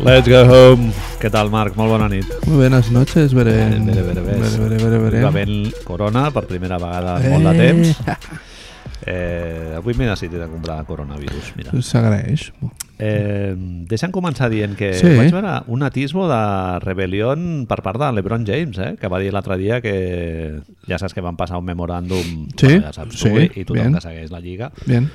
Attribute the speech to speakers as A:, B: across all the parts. A: Let's go home. Què tal, Marc? Molt bona nit.
B: Muy buenas noches, Beren.
A: Bere, bere, bere.
B: Bere, bere, bere, bere.
A: Viva ben Corona, per primera vegada en molt de temps. Eh, avui m'he decidit a comprar coronavirus, mira.
B: Pues S'agraeix.
A: Eh, deixa'm començar dient que
B: Sí.
A: vaig veure un atisbo de rebel·lió per part de l'Ebron James, eh, que va dir l'altre dia que ja saps que van passar un memoràndum,
B: Sí,
A: bueno, ja saps tu, eh,
B: sí,
A: i tothom
B: bien.
A: que segueix la Lliga,
B: Bien.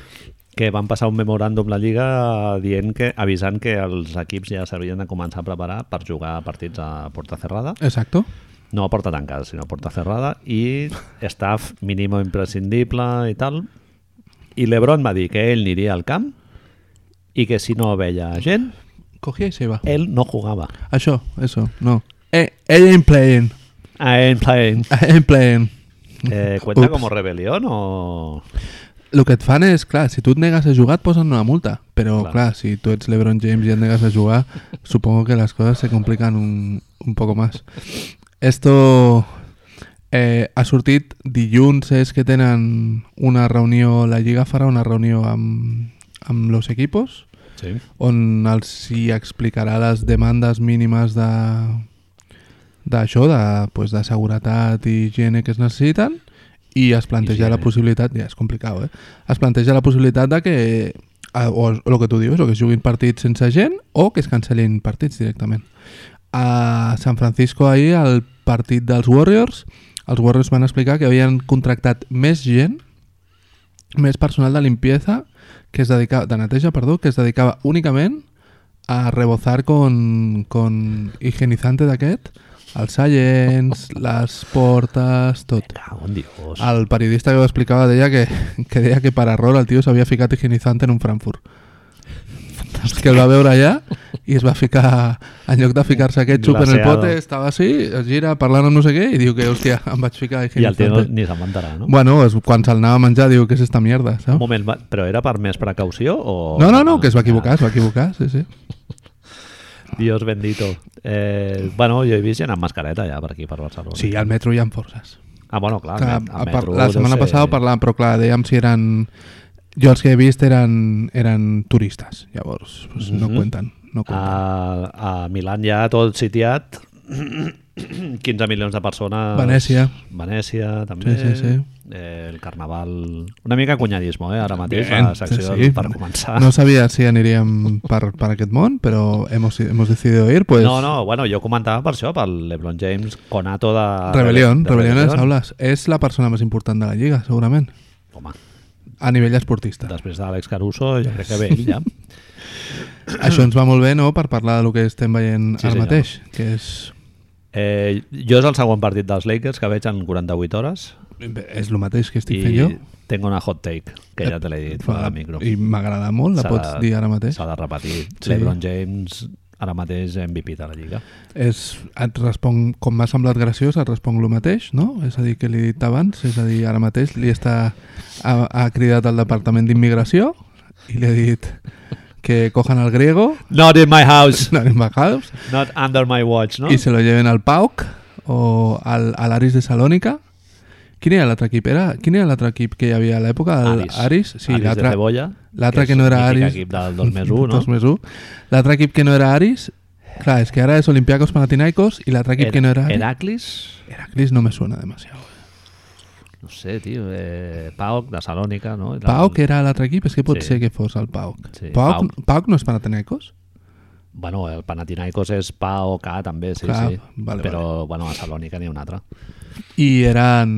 A: que van passar un memoràndum la Lliga dient que avisant que els equips ja s'havien de començar a preparar per jugar partits a porta cerrada,
B: Exacto.
A: no a porta tancada, sinó a porta cerrada, i staff mínimo imprescindible i tal. I l'Ebron va dir que ell aniria al camp i que si no veia gent,
B: Cogia i se va.
A: ell no jugava.
B: Això, eso, no. Eh, ell en playing.
A: I'm playing.
B: En playing.
A: Eh, ¿Cuenta
B: Ups.
A: como rebelión o...?
B: El que et fan és, clar, si tu et negues a jugar et posen una multa, però
A: Clar.
B: clar, clar si tu ets l'Ebron James i et negues a jugar, supongo que les coses se complican un, un poco más. Esto eh, ha sortit dilluns, és que tenen una reunió, la Lliga farà una reunió amb, amb los equipos,
A: Sí.
B: on els hi explicarà les demandes mínimes de d'això, de, pues, de seguretat i higiene que es necessiten i es planteja la
A: Higiene.
B: possibilitat, ja és complicat, eh? es planteja la possibilitat de que eh, o el que tu dius, o que es juguin partits sense gent o que es cancel·lin partits directament. A San Francisco ahir, al partit dels Warriors, els Warriors van explicar que havien contractat més gent més personal de limpieza que es dedicaba, de neteja, perdó, que es dedicava únicament a rebozar con, con higienizante d'aquest, els seients, les portes, tot.
A: Cago en Dios.
B: El periodista que ho explicava deia que, que deia que per error el tio s'havia ficat higienitzant en un Frankfurt. Que el va veure allà i es va ficar, en lloc de ficar-se aquest xup en el
A: Glaseado.
B: pote, estava així, es gira parlant amb no sé què i diu que, hòstia, em vaig ficar
A: I el tio no,
B: higienitzante.
A: ni se'n va enterar, no?
B: Bueno, és, quan se'l anava a menjar diu que és esta mierda,
A: Un
B: saps?
A: moment, va- però era per més precaució o...?
B: No, no, no, que es va equivocar, es va equivocar, sí, sí.
A: Ah, Dios bendito. Eh, bueno, jo he vist gent amb mascareta ja per aquí, per Barcelona.
B: Sí, al metro hi ha forces.
A: Ah, bueno, clar.
B: Clar,
A: al
B: a par-
A: metro
B: la
A: deu
B: setmana
A: ser-
B: passada ho parlàvem, però clar, dèiem si eren... Jo els que he vist eren, eren turistes, llavors pues, no
A: Mhm.
B: compten. No
A: Ah,
B: compten.
A: A, a Milán ja tot sitiat 15 milions de persones
B: Venècia.
A: Venècia també
B: Sí, sí, sí.
A: Eh, el carnaval una mica cunyadismo eh, ara mateix
B: Bien,
A: a la secció
B: sí, sí.
A: per començar
B: No sabia si aniríem per, per aquest món, però hemos, hemos decidido ir, pues...
A: no, no, bueno, jo comentava per això, pel LeBron James, conato de...
B: Rebelión,
A: de
B: Rebelión en les aules. És la persona més important de la Lliga, segurament.
A: Home,
B: A nivell esportista.
A: després d'Àlex Caruso, jo crec que bé, ja.
B: Això ens va molt bé, no?, per parlar del que estem veient
A: Sí,
B: ara
A: senyor.
B: mateix, que és...
A: Eh, jo és el segon partit dels Lakers que veig en 48 hores
B: És el mateix que estic fent
A: i
B: jo.
A: tengo una hot take, que ja te l'he dit
B: Fa-
A: al micro.
B: I m'agrada molt, la
A: S'ha
B: pots dir ara mateix.
A: S'ha de repetir.
B: Sí.
A: Sí. LeBron James ara mateix MVP de la Lliga.
B: És, et responc, com m'ha semblat graciós, et responc el mateix, no? És a dir, que li he dit abans, és a dir, ara mateix li està, ha, ha cridat al Departament d'Immigració i li he dit que cojan el griego,
A: Not in my house,
B: no anem a House,
A: not under my watch, no?
B: i se lo lleven al PAOC o al, a l'Aris de Salònica. Quin era l'altre equip? Era, quin era l'altre equip que hi havia a l'època? El Aris. Sí,
A: Aris de
B: l'altre-
A: Cebolla.
B: l'altre que
A: és
B: no era
A: mític
B: Aris.
A: equip del 2 més 1, no?
B: Dos més un. L'altre equip que no era Aris... Clar, és que ara és Olympiacos Panathinaikos i l'altre equip
A: Her-
B: que no era Aris...
A: Heraclis?
B: Heracles no me suena demasiado.
A: No sé, tio. Eh, Paok, de Salònica, no? Era
B: Pau,
A: el-
B: que era l'altre equip, és que pot
A: Sí.
B: ser que fos el Pau.
A: Sí,
B: Pau,
A: Pauk.
B: Pau no és Panathinaikos? eh.
A: Bueno, el Panathinaikos és Paok, A, també, sí,
B: Clar,
A: sí.
B: vale,
A: Però, bueno, a Salònica n'hi ha un altre.
B: I eren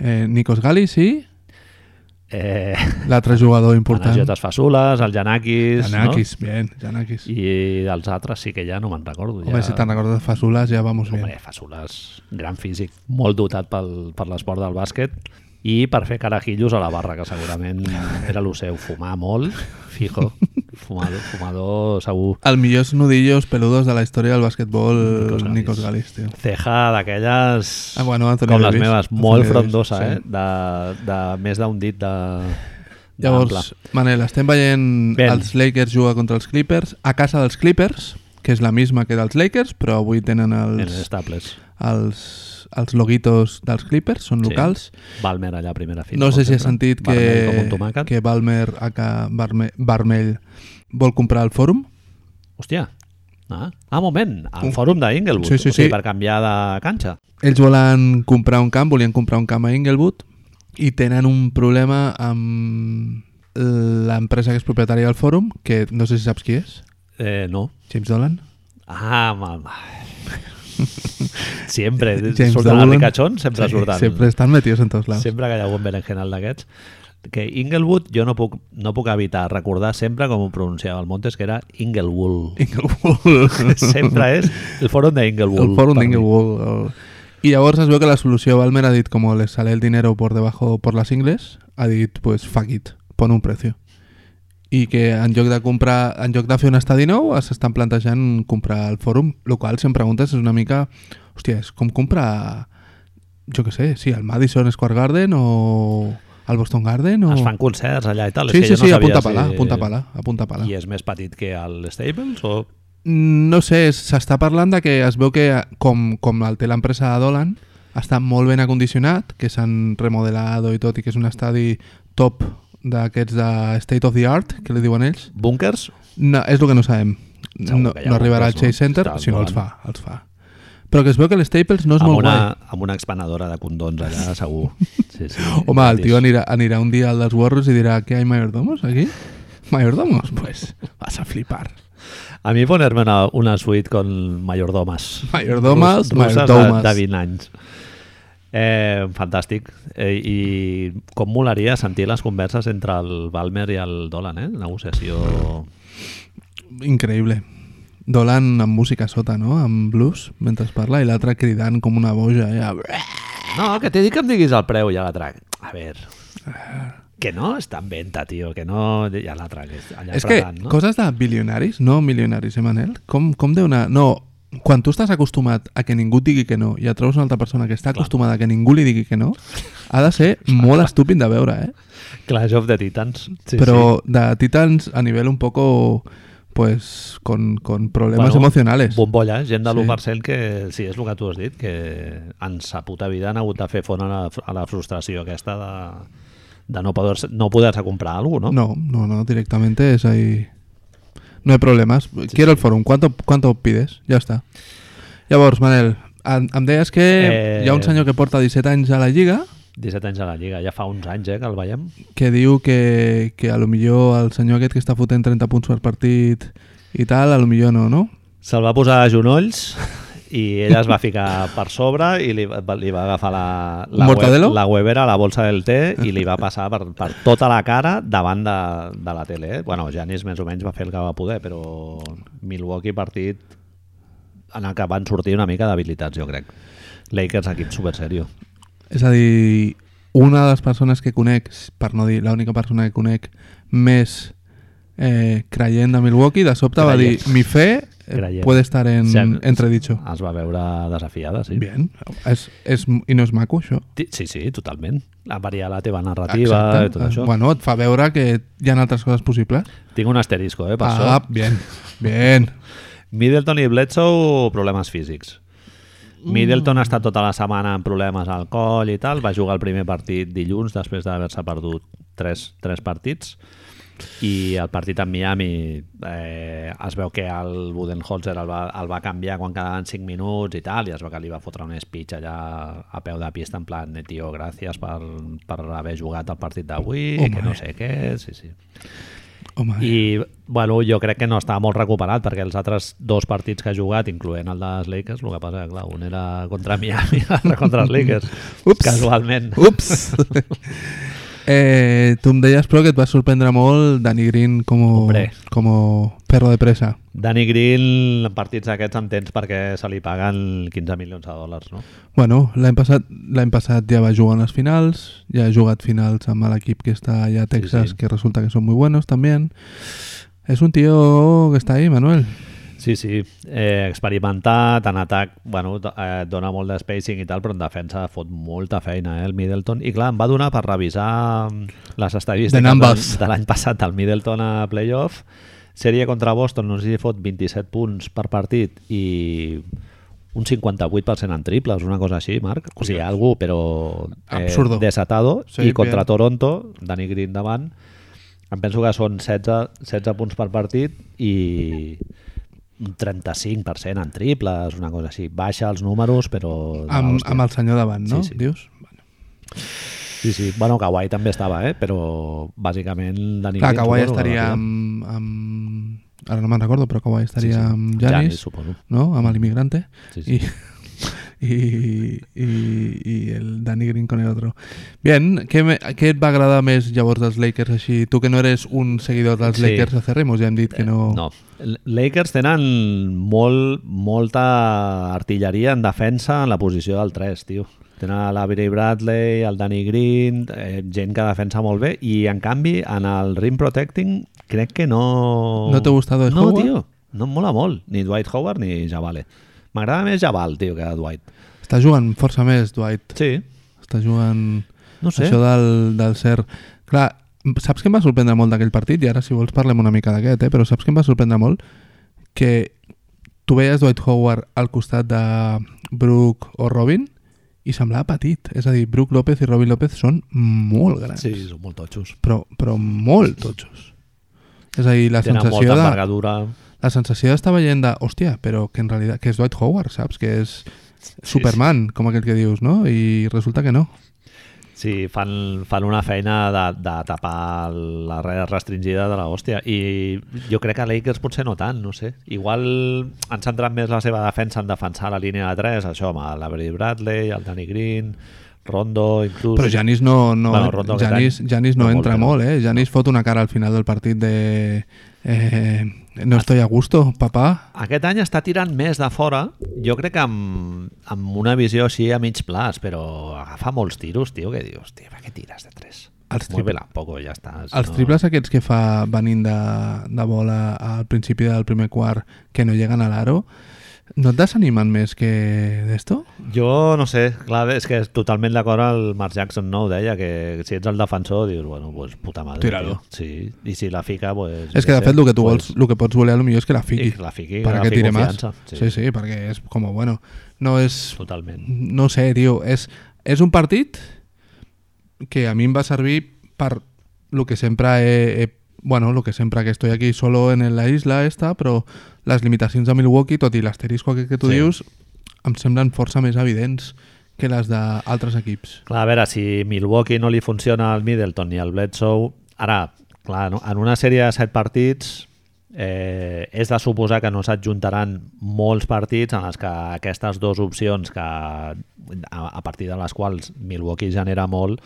B: eh, Nikos Galis i
A: Eh,
B: l'altre jugador important.
A: Anajotes Fasules, el Janakis,
B: Janakis, bien, Janakis.
A: no? I els altres sí que ja no me'n recordo.
B: Home,
A: ja...
B: si te'n recordes de Fasulas, ja vamos
A: Home,
B: bien.
A: Fasules, gran físic, molt dotat pel, per l'esport del bàsquet i per fer carajillos a la barra, que segurament era el seu, fumar molt, fijo, fumador, fumador segur.
B: El millor nudillos peludos de la història del basquetbol,
A: Nikos Galis.
B: Nikos Galis, tio.
A: Ceja d'aquelles
B: Ah, bueno, Anthony
A: com les
B: Davis.
A: meves,
B: Anthony
A: molt
B: Davis,
A: frondosa,
B: sí.
A: eh? De, de més d'un dit de... d'ample.
B: Llavors, Manel, estem veient
A: Ben.
B: els Lakers jugar contra els Clippers, a casa dels Clippers, que és la misma que dels Lakers, però avui tenen
A: en
B: els,
A: els estables.
B: els, els loguitos dels Clippers, són
A: Sí.
B: locals.
A: Balmer allà a primera fila.
B: No
A: com
B: sé si has
A: sempre.
B: sentit
A: Vermell com un
B: que,
A: tomàquet.
B: que Balmer, a Barme, Barmell, vol comprar el fòrum.
A: Hòstia, Ah, ah moment, al fòrum d'Inglewood,
B: Sí, sí,
A: o sigui,
B: sí.
A: per canviar de canxa.
B: Ells volen comprar un camp, volien comprar un camp a Inglewood i tenen un problema amb l'empresa que és propietària del fòrum, que no sé si saps qui és,
A: Eh, no.
B: James Dolan.
A: Ah, mal. sempre
B: James
A: surten els
B: Dolan.
A: ricachons, sempre sí, surten.
B: sempre estan metidos en tots lados.
A: Sempre que hi ha un berenjenal d'aquests. Que Inglewood jo no puc, no puc evitar recordar sempre com ho pronunciava el Montes, que era Inglewood.
B: Inglewood.
A: sempre és el fòrum d'Inglewood.
B: el fòrum
A: per mi.
B: d'Inglewood. el- I llavors es veu que la solució Balmer ha dit, com les sale el dinero por debajo por las ingles, ha dit, pues fuck it, pon un precio. I que en lloc de comprar, en lloc de fer un estadi nou, s'estan plantejant comprar el fòrum, el qual, si em preguntes, és una mica... Hòstia, és com comprar... Jo què sé, sí, el Madison Square Garden o el Boston Garden o...
A: Es fan concerts allà i tal.
B: Sí,
A: és que jo
B: sí,
A: no
B: sí, a
A: sabia
B: punta pala,
A: si...
B: a punta pala, a punta pala.
A: I és més petit que el Stables o...
B: No sé, s'està parlant de que es veu que, com, com el té l'empresa de Dolan, està molt ben acondicionat, que s'han remodelat i tot, i que és un estadi top d'aquests de state of the art, que li diuen ells.
A: Búnkers?
B: No, és el que no sabem.
A: Segur
B: No,
A: que hi ha
B: no arribarà al
A: moltes, no?
B: Chase Center,
A: Està
B: si no els
A: endavant.
B: fa, els fa. Però que es veu que l'Staples no és
A: amb
B: molt
A: una,
B: guai.
A: amb una expanadora de condons allà, segur. Sí, sí,
B: Home, el tio anirà, anirà un dia al dels Warriors i dirà que hi ha mayordomos aquí? Mayordomos? Pues vas a flipar.
A: A mi ponerme una, una suite con mayordomas.
B: Mayordomas,
A: Rus- russes
B: mayordomas.
A: De, de 20 anys. Eh, fantàstic. Eh, I com molaria sentir les converses entre el Balmer i el Dolan, eh? Negociació...
B: Increïble. Dolan amb música a sota, no? Amb blues, mentre parla, i l'altre cridant com una boja. Eh?
A: No, que t'he dit que em diguis el preu i a l'altre. A veure... Que no està en venda, tio, que no... I a l'altre, que és allà
B: És que
A: apretant, no?
B: coses de bilionaris, no milionaris, eh, Manel? Com, com deu anar... No, quan tu estàs acostumat a que ningú et digui que no i et trobes una altra persona que està acostumada a que ningú li digui que no, ha de ser molt estúpid de veure, eh?
A: Clash of the Titans. Sí, sí.
B: Però de Titans a nivell un poco pues con, con problemas
A: Bueno,
B: emocionales.
A: Bombolla, gent de
B: Sí.
A: l'1% que, sí, és el que tu has dit, que en sa puta vida han hagut de fer font a la, a la frustració aquesta de, de no poder-se no poder comprar alguna cosa, no?
B: No, no, no, directamente es ahí. No hay problemas. Quiero el fòrum. ¿Cuánto, ¿Cuánto pides? Ya está. Llavors, Manel, em, em deies que
A: Eh.
B: hi ha un senyor que porta 17 anys a la Lliga
A: 17 anys a la Lliga, ja fa uns anys eh, que el veiem.
B: que diu que, que a lo millor el senyor aquest que està fotent 30 punts per partit i tal, a lo millor no, no?
A: Se'l va posar a genolls i ella es va ficar per sobre i li, va- li va agafar la, la,
B: Un mortadelo?
A: la webera, la bolsa del té i li va passar per, per tota la cara davant de, de la tele. Eh? Bueno, Janis més o menys va fer el que va poder, però Milwaukee partit en el que van sortir una mica d'habilitats, jo crec. Lakers equip super serio.
B: És a dir, una de les persones que conec, per no dir l'única persona que conec més eh, creient de Milwaukee, de sobte va dir,
A: Creient.
B: mi fe eh,
A: Creient.
B: puede estar en
A: Sí,
B: entredicho.
A: Es va veure desafiada, sí.
B: Bien. És, és, I no és maco, això?
A: Ti- Sí, sí, totalment. A variar la teva narrativa i tot això.
B: Eh, Bueno, et fa veure que hi ha altres coses possibles.
A: Tinc un asterisco, eh, per això.
B: Ah, bien, bien.
A: Middleton i Bledsoe, problemes físics. Middleton ha estat tota la setmana amb problemes al coll i tal, va jugar el primer partit dilluns després d'haver-se perdut tres, tres partits i el partit amb Miami eh, es veu que el Budenholzer el va, el va canviar quan quedaven 5 minuts i tal, i es veu que li va fotre un speech allà a peu de pista en plan, "Eh, tio, gràcies per, per haver jugat el partit d'avui,
B: Home.
A: que no sé què, sí, sí.
B: Home, I...
A: I, bueno, jo crec que no estava molt recuperat perquè els altres dos partits que ha jugat, incloent el dels Lakers, el que passa que, clar, un era contra Miami i l'altre contra els Lakers.
B: Ups.
A: Casualment.
B: ups! eh, tu em deies, però, que et va sorprendre molt Danny Green com,
A: Hombre.
B: com perro de presa.
A: Danny Green, en partits d'aquests entens perquè se li paguen 15 milions de dòlars, no?
B: Bueno, l'any passat, l'any passat ja va jugar en les finals, ja ha jugat finals amb l'equip que està allà a Texas,
A: sí.
B: que resulta que són muy buenos també. És un tío que està ahí, Manuel.
A: Sí, sí, eh, experimentat, en atac, bueno, do- eh, dona molt de spacing i tal, però en defensa fot molta feina, eh, el Middleton. I clar, em va donar per revisar mm, les
B: The
A: estadístiques
B: numbers.
A: de, de l'any passat del Middleton a playoff. Sèrie contra Boston, no sé si fot 27 punts per partit i un 58% en triples, una cosa així, Marc. O sigui, algú, però eh,
B: Absurdo.
A: desatado.
B: Sí,
A: Sí, I contra
B: bien.
A: Toronto, Danny Green davant, em penso que són 16, 16 punts per partit i un 35% en triples, una cosa així. Baixa els números, però... de
B: Amb,
A: l'hòstia.
B: amb el senyor davant, no?
A: Sí, sí.
B: Dius? Bueno.
A: Sí, sí. Bueno, Kawhi també estava, eh? Però bàsicament... Dani
B: Clar,
A: Green,
B: Kawhi
A: suposo,
B: estaria
A: no?
B: amb, amb... Ara no me'n recordo, però Kawhi estaria
A: Sí, sí.
B: amb
A: Giannis,
B: Janis,
A: suposo.
B: no? Amb l'immigrante.
A: Sí, sí.
B: Y, y, y, y el Danny Green con el otro. Bien, què, me, què et va agradar més llavors dels Lakers així? Tu que no eres un seguidor dels
A: Sí. Eh,
B: Lakers acérrimos, ja hem dit que no...
A: No. L- Lakers tenen molt, molta artilleria en defensa en la posició del 3, tio. Tenen a l'Avery Bradley, el Danny Green, eh, gent que defensa molt bé, i en canvi en el rim protecting crec que no...
B: ¿No te gusta Dwight
A: no,
B: Howard?
A: tio, no em mola molt, ni Dwight Howard ni Javale. M'agrada més Javal, tio, que Dwight.
B: Està jugant força més, Dwight.
A: Sí,
B: Està jugant
A: no sé.
B: això del, del ser... Clar, saps què em va sorprendre molt d'aquell partit? I ara, si vols, parlem una mica d'aquest, eh? Però saps què em va sorprendre molt? Que tu veies Dwight Howard al costat de Brook o Robin i semblava petit. És a dir, Brook López i Robin López són molt grans.
A: Sí, són molt totxos.
B: però, però molt totxos. És a dir, la
A: Tenen
B: sensació,
A: molta
B: de,
A: envergadura.
B: la sensació d'estar veient de, hòstia, però que en realitat, que és Dwight Howard, saps? Que és Superman, com aquell que dius, no? I resulta que no.
A: Sí, fan, fan una feina de, de tapar la red restringida de la hòstia. I jo crec que Lakers potser no tant, no sé. Igual han centrat més la seva defensa en defensar la línia de 3, això amb l'Avery Bradley, el Danny Green, Rondo, inclús...
B: Però Janis no, no,
A: Bueno, Rondo aquest
B: Giannis-
A: any
B: Giannis no,
A: no
B: entra
A: molt,
B: molt, eh? Janis fot una cara al final del partit de... Eh, no estoy a gusto, papà.
A: Aquest any està tirant més de fora, jo crec que amb, amb una visió així a mig plaç, però agafa molts tiros, tio, que dius, tio, per què tires de 3?
B: Els tri-
A: Mueve-la un poco, ja està. si
B: Els
A: no-
B: triples aquests que fa venint de, de bola al principi del primer quart que no lleguen a l'aro, no et desanimen més que d'esto?
A: Jo no sé, clar, és que és totalment d'acord el Mark Jackson, no? Ho deia, que si ets el defensor dius, bueno, pues puta madre.
B: Tira-lo.
A: tio. Sí, i si la fica, pues...
B: És que de fet el que tu vols, el que pots voler potser és que la fiqui.
A: I que la fiqui, que
B: per
A: agafi
B: que tire més.
A: confiança,
B: Sí.
A: sí.
B: sí, sí, perquè és com, bueno, no és...
A: Totalment.
B: No sé, tio, és, és un partit que a mi em va servir per el que sempre he, he bueno, lo que sempre que estoy aquí solo en la isla esta, però les limitacions de Milwaukee, tot i l'asterisco que, que tu
A: Sí.
B: sí. dius, em semblen força més evidents que les d'altres equips.
A: Clar, a veure, si Milwaukee no li funciona al Middleton ni al Bledsoe... Ara, clar, no? en una sèrie de set partits eh, és de suposar que no s'adjuntaran molts partits en els que aquestes dues opcions que a, a partir de les quals Milwaukee genera molt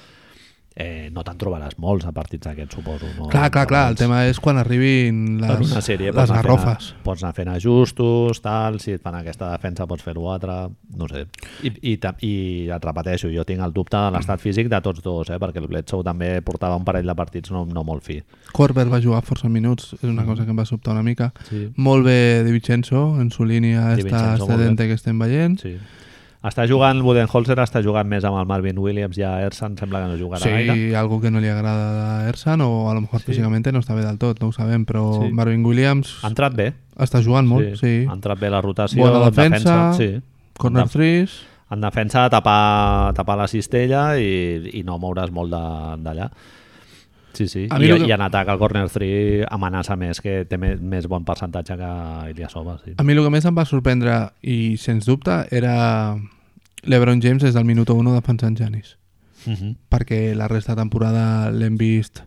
A: eh, no te'n trobaràs molts a partits d'aquests, suposo. No?
B: Clar, clar, clar, el tema és quan arribin les,
A: doncs. per una sèrie
B: Doncs les
A: pots anar fent-
B: garrofes.
A: pots anar fent ajustos, tal, si et fan aquesta defensa pots fer-ho altra, no sé. I, i, ta- I et repeteixo, jo tinc el dubte de l'estat físic de tots dos, eh? perquè el Bledsoe també portava un parell de partits no, no molt fi.
B: Corber va jugar força minuts, és una cosa que em va sobtar una mica.
A: Mm. Sí.
B: Molt bé De Vincenzo, en su línia
A: Di
B: està
A: Vincenzo, molt
B: excedente que estem veient.
A: sí. Està jugant, Budenholzer està jugant més amb el Marvin Williams i a Ersan sembla que no jugarà gaire.
B: Sí, algo que no li agrada a Ersan o a lo mejor
A: Sí.
B: físicament no està bé del tot, no ho sabem, però
A: Sí.
B: Marvin Williams
A: Ha entrat bé.
B: està jugant molt, sí.
A: Ha entrat bé la rotació.
B: Bona
A: en
B: defensa,
A: sí.
B: Corner
A: Def-
B: threes,
A: en defensa tapar, tapar la cistella i, i no moure's molt de- d'allà sí, sí,
B: A
A: I,
B: mi lo
A: que...
B: que-
A: i en atac al corner 3 amenaça més que té més, més bon percentatge que Iliasova sí.
B: A mi el que més em va sorprendre, i sens dubte, era l'Ebron James des del minuto 1 defensant Janis.
A: uh -huh.
B: Mhm. Perquè la resta de temporada l'hem vist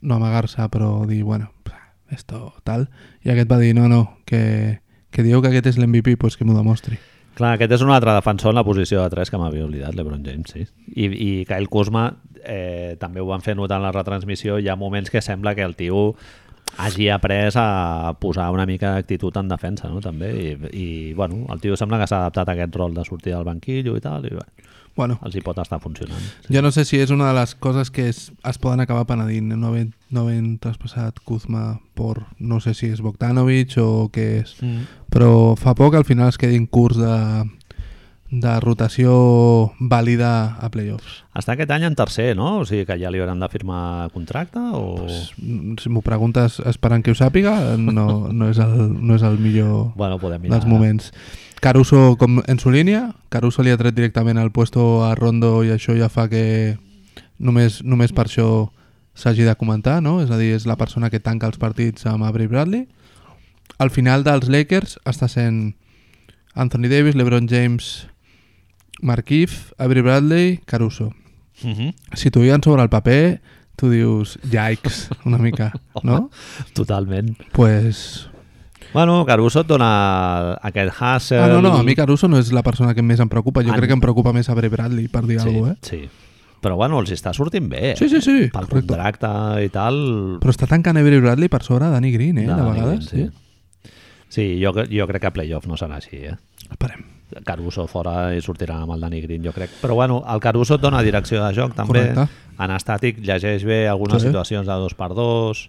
B: no amagar-se, però dir, bueno, pah, esto tal. I aquest va dir, no, no, que, que dieu que aquest és l'MVP, pues que m'ho demostri.
A: Clar, aquest és un altre defensor en la posició de 3 que m'havia oblidat, l'Ebron James, sí. I, i Kyle Kuzma eh, també ho van fer notar en la retransmissió, hi ha moments que sembla que el tio hagi après a posar una mica d'actitud en defensa, no? també, i, i bueno, el tio sembla que s'ha adaptat a aquest rol de sortir del banquillo i tal, i bueno,
B: Bueno,
A: els hi pot estar funcionant.
B: Jo no sé si és una de les coses que es, es poden acabar penedint, no haver, no haver traspassat Kuzma per, no sé si és Bogdanovic o què és,
A: Mm.
B: però fa poc al final es quedin curts de, de rotació vàlida a playoffs.
A: Està aquest any en tercer, no? O sigui que ja li hauran de firmar contracte o... Pues...
B: Mm, Si m'ho preguntes esperant que ho sàpiga, no, no, és, el, no és el millor
A: Bueno, podem mirar.
B: dels moments. Caruso com en su línia, Caruso li ha tret directament el puesto a Rondo i això ja fa que només, només per això s'hagi de comentar, no? És a dir, és la persona que tanca els partits amb Avery Bradley. al final dels Lakers està sent Anthony Davis, LeBron James, Markif, Avery Bradley, Caruso.
A: Mhm.
B: Si t'ho diuen sobre el paper, tu dius, yikes, una mica, no?
A: Totalment.
B: pues...
A: Bueno, Caruso et dona aquest Hassel...
B: Ah, no, no, a mi Caruso no és la persona que més em preocupa. Jo
A: Ah,
B: crec que em preocupa més Avery Bradley, per dir
A: sí,
B: alguna cosa,
A: Sí. Però bueno, els està sortint bé.
B: eh? Sí, sí, sí,
A: Pel
B: correcte.
A: contracte i tal...
B: Però està tancant Avery Bradley per sobre Danny Green, eh, de,
A: Dani
B: vegades.
A: Green, sí. Sí, jo, cre- jo crec que a playoff no serà així, eh?
B: sí. Esperem.
A: Caruso fora i sortirà amb el Dani Green, jo crec. Però bueno, el Caruso et dona direcció de joc també.
B: Correcte.
A: Anastàtic llegeix bé algunes
B: Sí.
A: situacions de dos per dos.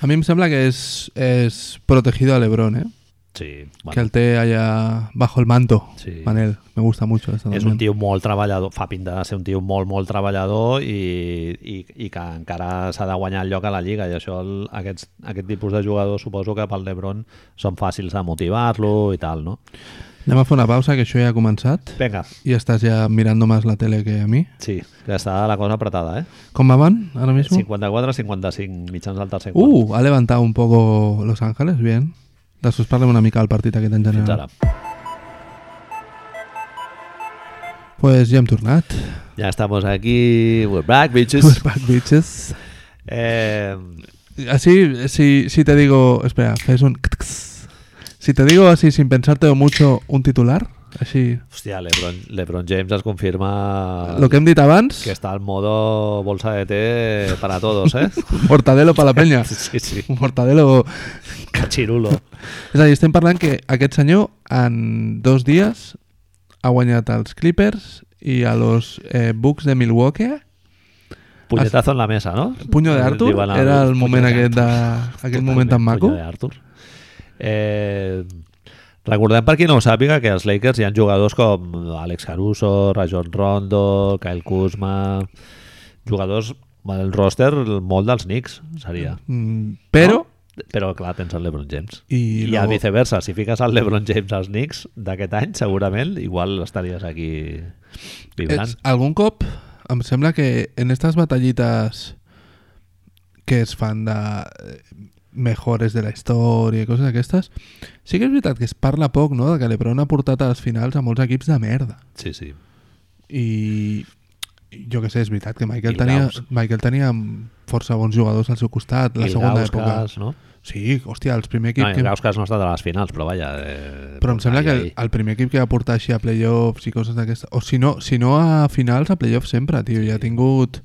B: A mi em sembla que és, és protegido a Lebron, eh?
A: Sí,
B: Que
A: bueno,
B: el té allà bajo el manto,
A: Sí.
B: Manel. Me gusta mucho. Esta
A: és
B: también.
A: un tio molt treballador, fa pinta de ser un tio molt, molt treballador i, i, i que encara s'ha de guanyar el lloc a la Lliga i això, el, aquests, aquest tipus de jugadors suposo que pel Lebron són fàcils de motivar-lo i tal, no?
B: Anem a fer una pausa, que això ja ha començat.
A: Vinga,
B: I estàs ja mirant més la tele que a mi.
A: sí, que està la cosa apretada, eh?
B: Com van ara mismo?
A: 54-55 mitjans del tercer quart.
B: Uh, ha levantado un poco Los Ángeles, bien. Després parlem una mica del partit aquest en
A: Fins
B: general.
A: ara.
B: Pues ja hem tornat.
A: Ja estamos aquí, we're back, bitches.
B: We're back, Pues bitches.
A: Eh,
B: Así, si, si te digo... Espera, fes un... Si te digo así, sin pensártelo mucho, un titular, així...
A: hòstia, Lebron, Lebron James es confirma
B: Lo que hem dit abans,
A: que está al modo bolsa de té para todos, ¿eh?
B: mortadelo per la penya.
A: sí, sí,
B: Un mortadelo...
A: cachirulo.
B: És a dir, estem parlant que aquest senyor en dos dies ha guanyat els Clippers i a los eh, Bucks de Milwaukee.
A: Puñetazo en la mesa, ¿no?
B: Puño de Arthur
A: Diuen
B: era el moment
A: puño de
B: aquest, de, aquest moment tan
A: Totalment,
B: maco.
A: puño de Arthur. Eh, recordem per qui no ho sàpiga que els Lakers hi ha jugadors com Alex Caruso, Rajon Rondo, Kyle Kuzma, jugadors el roster molt dels Knicks seria.
B: Mm, però,
A: Però clar, tens el LeBron James. I,
B: I
A: I
B: luego-
A: viceversa, si fiques el LeBron James als Knicks d'aquest any, segurament igual estaries aquí vibrant.
B: és, algun cop em sembla que en estas batallites que es fan de eh, mejores de la història i coses d'aquestes, sí que és veritat que es parla poc, no?, de que l'Ebron ha portat a les finals a molts equips de merda.
A: Sí, sí.
B: i i jo que sé, és veritat que Michael
A: Il
B: tenia,
A: Gaus.
B: Michael tenia força bons jugadors al seu costat, la
A: I el
B: segona època.
A: Gauskas, No?
B: Sí, hòstia, el primer equip...
A: No,
B: que...
A: el Gauskas no ha estat a les finals, però vaja... Eh,
B: Però em sembla
A: ahí,
B: que el,
A: ahí.
B: el primer equip que va portar així a playoffs i coses d'aquestes... O si no, si no a finals, a playoffs sempre, tio. I ha tingut...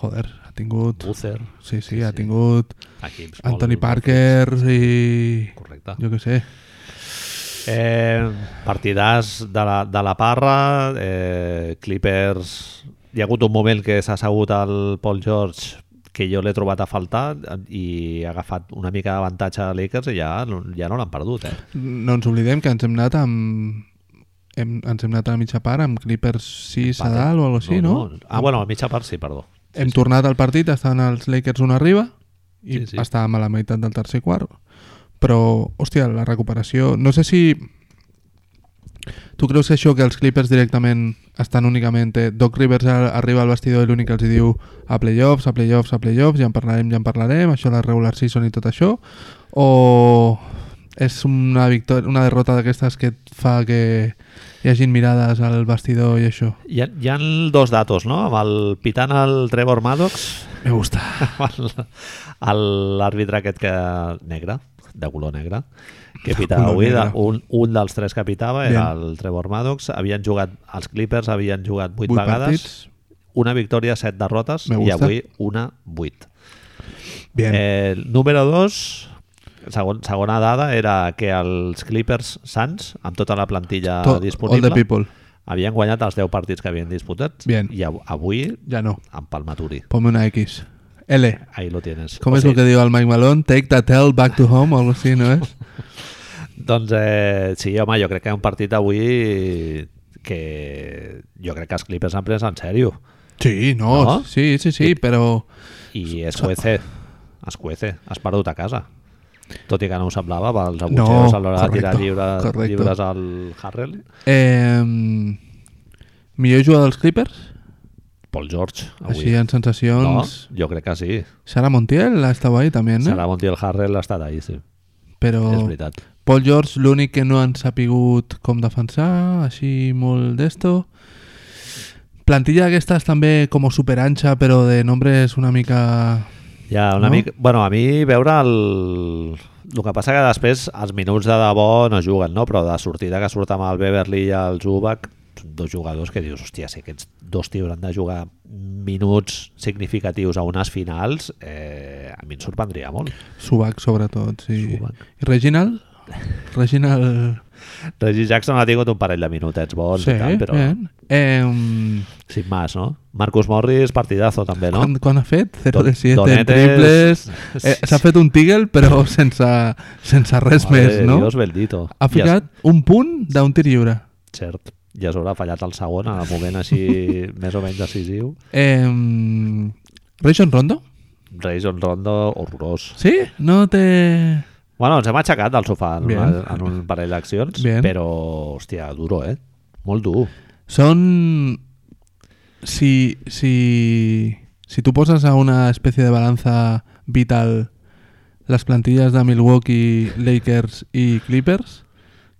B: Joder, ha tingut...
A: Boozer,
B: Sí, sí,
A: sí,
B: ha
A: sí.
B: tingut
A: equips molt-
B: Anthony Parker i...
A: Correcte.
B: Jo que sé.
A: Eh, partidàs de la, de la parra, eh, Clippers... Hi ha hagut un moment que s'ha assegut el Paul George que jo l'he trobat a faltar i ha agafat una mica d'avantatge a Lakers i ja, no- ja no l'han perdut, eh?
B: No ens oblidem que ens hem anat amb... Hem, ens hem anat a la mitja part amb Clippers 6 a
A: Empate.
B: dalt o alguna cosa així, no?
A: Ah, bueno, a mitja part sí, perdó.
B: Hem tornat al partit, estaven els Lakers un arriba i
A: Sí,
B: sí,
A: sí.
B: sí. estàvem a la meitat del tercer quart. Però, hòstia, la recuperació... No sé si... Tu creus que això que els Clippers directament estan únicament... eh, Doc Rivers a- arriba al vestidor i l'únic que els hi diu a playoffs, a playoffs, a playoffs, ja en parlarem, ja en parlarem, això la regular season i tot això, o és una, victòria, una derrota d'aquestes que et fa que hi hagin mirades al vestidor i això?
A: Hi ha, hi ha dos datos, no? Amb el pitant el Trevor Maddox,
B: Me gusta.
A: amb el- l'àrbitre aquest que negre, de color negre, que pitava
B: color
A: avui, de,
B: negre.
A: un, un dels tres que pitava era
B: Bien.
A: el Trevor Maddox, havien jugat, els Clippers havien jugat vuit
B: Vuit
A: vegades,
B: partits.
A: una victòria, set derrotes,
B: Me
A: i
B: gusta.
A: avui una, vuit.
B: Bien.
A: Eh, número 2, segon, segona dada, era que els Clippers Sants, amb tota la plantilla
B: To- All the
A: disponible,
B: people.
A: havien guanyat els 10 partits que havien disputat
B: Bien.
A: i av avui
B: Ja no.
A: amb Palmaturi.
B: Ponme una X. L.
A: Ahí lo tienes.
B: Com
A: O
B: és el que diu el Mike Malone? Take that L back to home o algo així, no és?
A: Doncs eh, sí, home, jo crec que un partit avui que jo crec que els Clippers han pres en sèrio.
B: Sí, no,
A: No?
B: sí, sí, sí, però...
A: I es cuece, es cuece, has perdut a casa. Tot i que no ho semblava, pels
B: No,
A: abutxeus a l'hora de tirar
B: correcto,
A: lliures,
B: correcto.
A: lliures al Harrell.
B: Eh, millor jugador dels Clippers?
A: Paul George, avui.
B: Així doncs. en sensacions...
A: Ah, No, jo crec que sí.
B: Sara Montiel ha estat ahí també, no?
A: Sarah Montiel Harrell ha estat ahí, sí.
B: però
A: és veritat.
B: Paul George l'únic que no han sapigut com defensar, així molt d'esto. Plantilla d'aquestes també com superanxa, però de nombres una mica...
A: Ja, una
B: No?
A: no? mica... Bueno, a mi veure el... El que passa que després els minuts de debò no juguen, no? Però de sortida que surt amb el Beverly i el Zubac, són dos jugadors que dius, hòstia, si aquests dos tios han de jugar minuts significatius a unes finals, eh, a mi em sorprendria molt.
B: Subac, sobretot, sí.
A: Zubac.
B: I Reginald? Reginald...
A: Reggie Jackson ha tingut un parell de minutets bons sí, i tal, però eh?
B: bien. Em,
A: sin más, no? Marcus Morris, partidazo també, no?
B: Quan, quan ha fet? 0 de
A: Don-
B: 7,
A: donetes.
B: triples... Eh,
A: Sí,
B: S'ha fet un tigel, però sense, sense res
A: Madre
B: més,
A: de
B: no?
A: Dios bendito.
B: Ha ficat un punt d'un tir lliure.
A: Ja, cert. I a sobre ha fallat el segon en el moment així més o menys decisiu.
B: Eh, Rajon Rondo?
A: Raison Rondo, horrorós.
B: Sí? No té...
A: Bueno, ens hem aixecat del sofà en,
B: Bien.
A: una, en un parell d'accions,
B: Bien.
A: però, hòstia, duro, eh? Molt dur.
B: Són... Si, si, si tu poses a una espècie de balanza vital les plantilles de Milwaukee, Lakers i Clippers,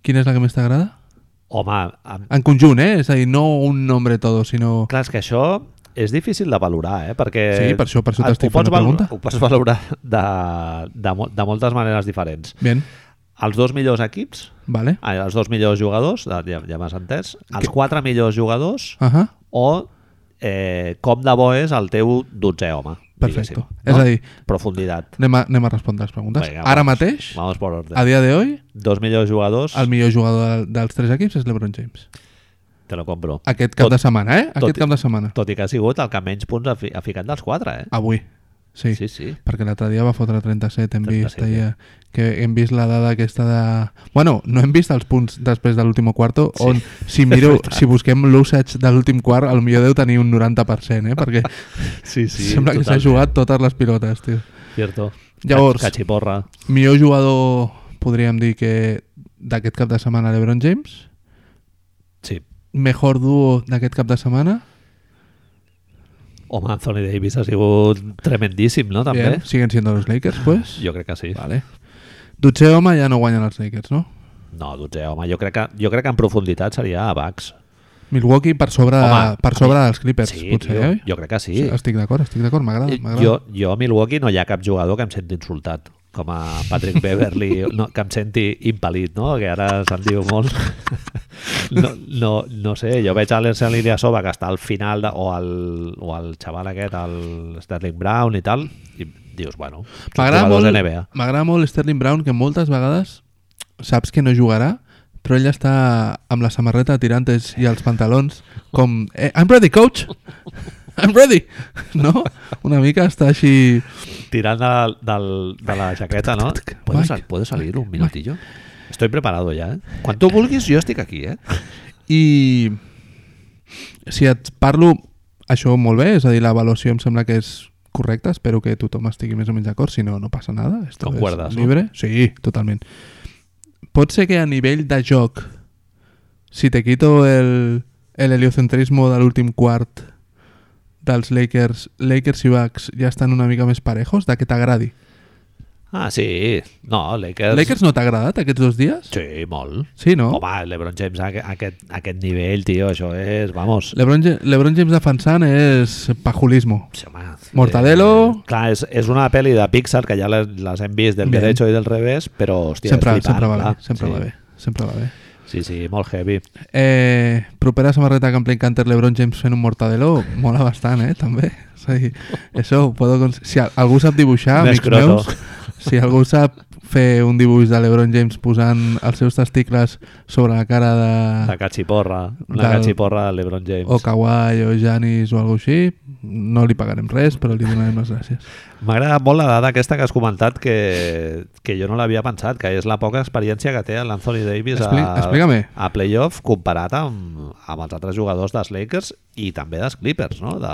B: quina és la que més t'agrada?
A: Home, amb...
B: En conjunt, eh? És a dir, no un nombre todo, sinó...
A: clar, és que això és difícil de valorar, eh? Perquè
B: Sí, per això- per això
A: et-
B: t'estic
A: ho pots
B: fent la
A: valorar-
B: pregunta.
A: Ho pots valorar de, de, mo- de moltes maneres diferents.
B: Bien,
A: Els dos millors equips,
B: vale.
A: ai, els dos millors jugadors, ja, ja- ja m'has entès, els quatre millors jugadors
B: Ahà,
A: o eh, com de bo és el teu dotzè home.
B: perfecto.
A: diguéssim,
B: És a dir,
A: Profunditat.
B: anem a, anem a respondre les preguntes.
A: Vinga,
B: Ara
A: vamos.
B: mateix,
A: Vamos por orden.
B: a dia de hoy,
A: Dos millors jugadors,
B: el millor jugador de- dels tres equips és LeBron James.
A: te lo compro.
B: Aquest cap
A: Tot-
B: de setmana, eh?
A: tot
B: Aquest
A: i-
B: cap de setmana.
A: Tot i que ha sigut el que menys punts ha, fi, ha ficat dels quatre, eh?
B: Avui. Ah, Sí,
A: sí. sí.
B: perquè l'altre dia va fotre 37, hem vist
A: 37,
B: ahir, que hem vist la dada aquesta de... Bueno, no hem vist els punts després de l'últim quarto, sí. on si mireu, si busquem l'usage de l'últim quart, al millor deu tenir un 90%, eh? perquè
A: sí,
B: sí, sembla que s'ha jugat totes les pilotes, tio.
A: Cierto.
B: Llavors-
A: Cachiporra.
B: Millor jugador, podríem dir que d'aquest cap de setmana LeBron James.
A: Sí.
B: Mejor duo d'aquest cap de setmana.
A: Home, Anthony Davis ha sigut tremendíssim, no? També. Ah,
B: Bien, siguen siendo los Lakers, pues.
A: Jo crec que sí.
B: Vale. Dutxe home ja no guanyen els Lakers, no?
A: No, dotzè, home, jo crec que, jo crec que en profunditat seria a Bax.
B: Milwaukee per sobre,
A: Home,
B: per
A: a
B: sobre dels Clippers,
A: Sí,
B: potser, eh?
A: tio,
B: oi?
A: jo crec que sí. Eh,
B: Estic d'acord, estic d'acord, m'agrada, Ah, m'agrada.
A: jo, jo a Milwaukee no hi ha cap jugador que em senti insultat com a Patrick Beverly no, que em senti impel·lit, no? que ara se'n diu molt no, no, no sé, jo veig a l'Ersen Iliasova que està al final de, o, el, o el xaval aquest el Sterling Brown i tal i dius, bueno, són
B: M'agrada
A: jugadors
B: molt,
A: NBA
B: m'agrada molt Sterling Brown, que moltes vegades saps que no jugarà, però ell està amb la samarreta de tirantes i els pantalons com... Eh, I'm ready, coach! I'm ready! No? Una mica està així...
A: tirant de, del, de la jaqueta, no? ¿Puedo, sal,
B: Mike,
A: ¿Puedo salir un minutillo? Estoy preparado ya, ¿eh? Quan tu vulguis jo estic aquí, eh?
B: I si et parlo això molt bé, és a dir, l'avaluació em sembla que és correcta, espero que tothom estigui més o menys d'acord, si no, no passa nada. Esto
A: Concuerdas,
B: és
A: no?
B: llibre. Sí, totalment. Pot ser que a nivell de joc, si te quito el, el heliocentrismo de l'últim quart dels Lakers, Lakers i Bucks ja estan una mica més parejos, de que t'agradi.
A: Ah, sí. No, Lakers...
B: Lakers no t'ha agradat aquests dos dies?
A: Sí, molt.
B: Sí, no?
A: No? Home, LeBron James a aqu- aquest, a aquest nivell, tio, això és... Vamos.
B: LeBron, Ja- LeBron James defensant és pajulismo.
A: Sí, home.
B: Mortadelo.
A: Eh, clar, és, és una pel·li de Pixar que ja les, les hem vist del
B: Bien.
A: derecho i del revés, però, hòstia,
B: sempre,
A: és flipant,
B: sempre va
A: clar.
B: bé, sempre
A: sí.
B: va bé, sempre va bé.
A: Sí, sí, molt heavy.
B: Eh, propera samarreta que en Plain Canter LeBron James fent un mortadelo mola bastant, eh, també. És a dir, això ho puedo... cons- Si a- algú sap dibuixar,
A: Més
B: amics
A: croto.
B: meus, si algú sap fer un dibuix de LeBron James posant els seus testicles sobre la cara
A: La
B: de...
A: cachiporra. La
B: Ah. Del-
A: cachiporra de LeBron James.
B: o Kawhi o Janis o alguna així, no li pagarem res, però li donarem les gràcies.
A: M'ha agradat molt la dada aquesta que has comentat que, que jo no l'havia pensat, que és la poca experiència que té l'Anthony Davis
B: Expli-
A: a,
B: explica-me.
A: a playoff comparat amb, amb els altres jugadors dels Lakers i també dels Clippers, no? De,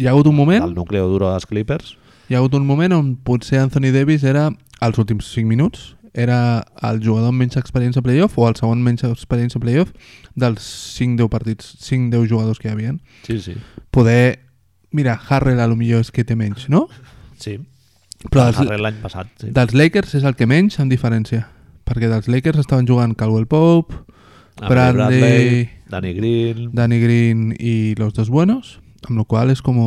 B: Hi ha hagut un moment
A: Del núcleo duro dels Clippers.
B: Hi ha hagut un moment on potser Anthony Davis era, als últims 5 minuts, era el jugador amb menys experiència a playoff o el segon menys experiència a playoff dels 5-10 partits, 5-10 jugadors que hi havia.
A: Sí, sí.
B: Poder... Mira, Harrell a lo millor és que té menys, no?
A: Sí.
B: Però dels,
A: Darrer l'any passat. Ah, Sí.
B: dels Lakers és el que menys amb diferència. Perquè dels Lakers estaven jugant Caldwell Pope,
A: Avery
B: Bradley,
A: Danny Green...
B: Danny Green i Los Dos Buenos, amb la qual és com...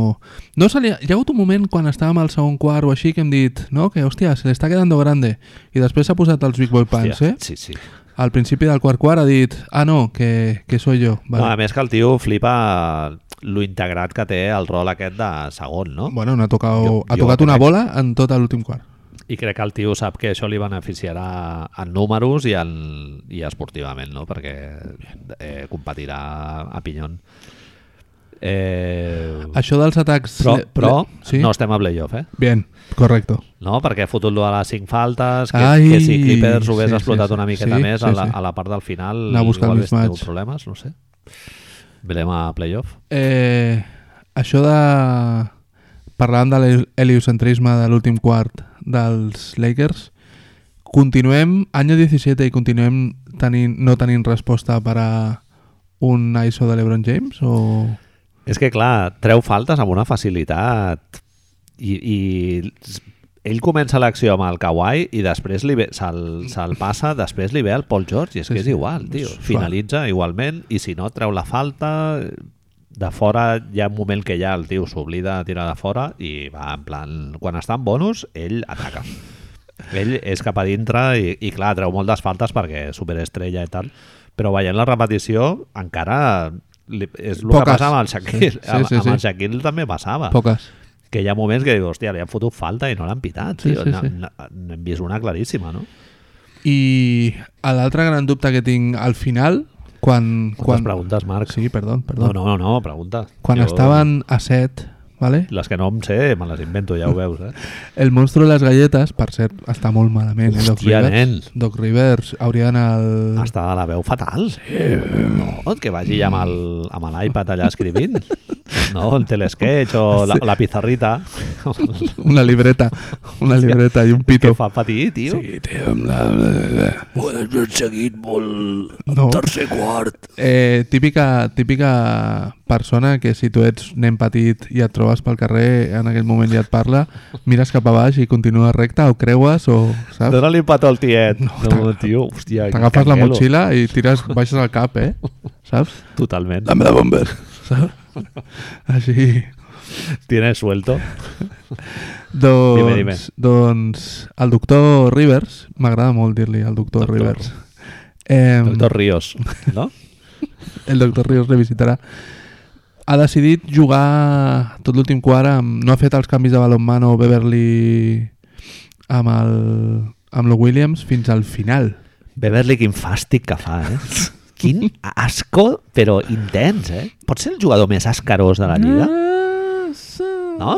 B: No se li... Hi ha hagut un moment quan estàvem al segon quart o així que hem dit no, que hòstia, se l'està quedando grande i després s'ha posat els Big Boy Pants,
A: Hòstia,
B: eh?
A: Sí, sí.
B: Al principi del quart quart ha dit ah no, que, que soy yo.
A: Vale. No, a
B: Vale.
A: més que el tio flipa lo integrat que té el rol aquest de segon, no?
B: bueno, no ha, tocado,
A: Jo-
B: ha
A: jo
B: tocat una
A: crec-
B: bola en tot l'últim quart.
A: I crec que el tio sap que això li beneficiarà en números i, en, i esportivament, no? Perquè eh, competirà a Pinyon. Eh,
B: Això dels atacs...
A: però
B: le-
A: però
B: le- Ah, sí?
A: no estem a playoff, eh?
B: Bien, correcto.
A: No? Perquè ha fotut lo de les 5 faltes, que,
B: Ai,
A: que si Clippers ho hagués
B: sí, sí,
A: explotat
B: sí.
A: una miqueta
B: Sí,
A: més a,
B: sí,
A: la,
B: sí.
A: a la part del final,
B: Anar a buscar
A: igual
B: el
A: hagués
B: mismatch.
A: tingut problemes, no sé. Velem a playoff.
B: Eh, això de... Parlant de l'heliocentrisme de l'últim quart dels Lakers, continuem any 17 i continuem tenint, no tenint resposta per a un ISO de l'Ebron James? O...
A: És que, clar, treu faltes amb una facilitat i, i ell comença l'acció amb el Kawhi i després li ve- se'l se passa, després li ve el Paul George i és
B: Sí,
A: que és
B: sí.
A: igual, tio.
B: Suau.
A: Finalitza igualment i si no treu la falta de fora hi ha un moment que ja el tio s'oblida de tirar de fora i va en plan, quan està en bonus ell ataca ell és cap a dintre i, i clar, treu moltes faltes perquè és superestrella i tal, però veient la repetició encara li, és el
B: Poques.
A: que passa amb el Shaquille. Sí, sí, sí, amb,
B: sí.
A: el Shaquille també passava. Poc.
B: Poques.
A: Que hi ha moments que dius, hòstia, li han fotut falta i no l'han pitat,
B: Sí,
A: tio.
B: sí,
A: Sí,
B: sí.
A: sí, N'hem vist una claríssima, no?
B: I l'altre gran dubte que tinc al final, quan...
A: Quantes
B: quan...
A: preguntes, Marc?
B: Sí, perdó, perdó.
A: No, no, no, no, pregunta.
B: Quan
A: Jo-
B: estaven a 7, vale?
A: Les que no em sé, me les invento, ja ho veus, eh?
B: El monstruo de les galletes, per cert, està molt malament. eh, Doc
A: Hòstia,
B: Rivers.
A: nen. Ah,
B: Doc Rivers hauria d'anar al...
A: Està de la veu fatal. Sí. No, que vagi amb el- amb l'iPad allà escrivint. No, el telesketch o la, la pizarrita.
B: Una libreta, una libreta i un
A: Que
B: pito.
A: fa patir, tio. Sí.
B: Sí, té, amb la- la- la-
C: Poden haver seguit molt
B: No.
C: tercer quart.
B: Eh, típica, típica persona que si tu ets nen petit i et trobes pel carrer, en aquell moment ja et parla, mires cap a baix i continues recta o creues o, saps?
A: Dóna-li un petó al tiet. No, tio, hòstia. quin
B: T'agafes la
A: canguelo.
B: motxilla i tires, baixes el cap, eh? Saps?
A: Totalment.
B: Dame la bomba. Saps? Així.
A: Tienes suelto.
B: Doncs,
A: Dime, dime.
B: doncs el doctor Rivers, m'agrada molt dir-li el doctor,
A: Doctor.
B: Rivers. Eh,
A: Doctor Ríos, ¿no?
B: El doctor Ríos revisitarà. Ha decidit jugar tot l'últim quart amb... No ha fet els canvis de balonmano Beverly amb el amb el Williams fins al final.
A: Beverly, quin fàstic que fa, eh? Quin asco, però intens, eh? Pot ser el jugador més ascarós
B: Eh,
A: de la Lliga?
B: No?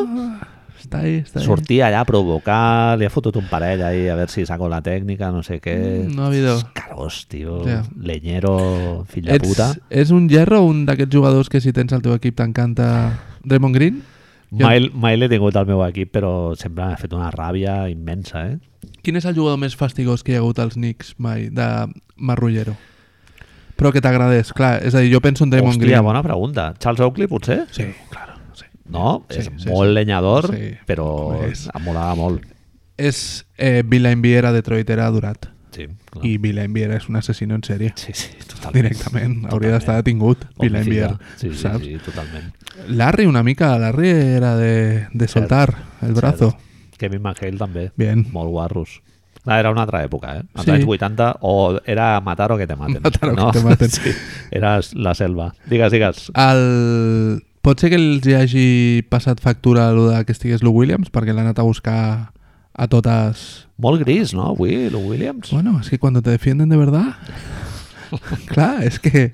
B: Està ahí, està ahí.
A: Sortir allà a provocar, li ha fotut un parell ahí, a veure si saco la tècnica, no sé què...
B: Mm, No ha habido.
A: Ascarós, tio.
B: Ja.
A: Leñero, fill de puta.
B: és un gerro o un d'aquests jugadors que si tens al teu equip t'encanta Draymond Green? Jo-
A: Mai, mai l'he tingut al meu equip, però sempre m'ha fet una ràbia immensa, eh?
B: Quin és el jugador més fastigós que hi ha hagut als Knicks mai, de Marrullero? Però que t'agradés, clar. És a dir, jo penso en Draymond
A: Hòstia,
B: Green.
A: bona pregunta. Charles Oakley, potser?
B: Sí, claro. Sí.
A: No?
B: Sí,
A: és
B: sí,
A: molt
B: sí.
A: lenyador,
B: Sí,
A: però
B: home, és.
A: em molava molt.
B: És eh, Villain era Detroit, era durat.
A: Sí, clar.
B: I Villain Viera és un assassino en sèrie.
A: Sí, sí, totalment.
B: Directament. Hauria d'estar detingut, Villain Viera.
A: Sí, sí,
B: saps?
A: sí, totalment.
B: Larry, una mica. Larry era de, de soltar el brazo.
A: Cert. Kevin McHale també.
B: Bien.
A: Molt guarros. Ah, era una altra època, eh? Als sí.
B: Sí.
A: anys 80, o era matar o que te maten.
B: Matar o que te maten.
A: Sí, era la selva. Digues, digues.
B: El... Pot ser que els hi hagi passat factura allò de que estigués Lou Williams, perquè l'ha anat a buscar a totes
A: Molt gris, no, avui, el Williams?
B: Bueno, es que cuando te defienden de verdad. claro, es que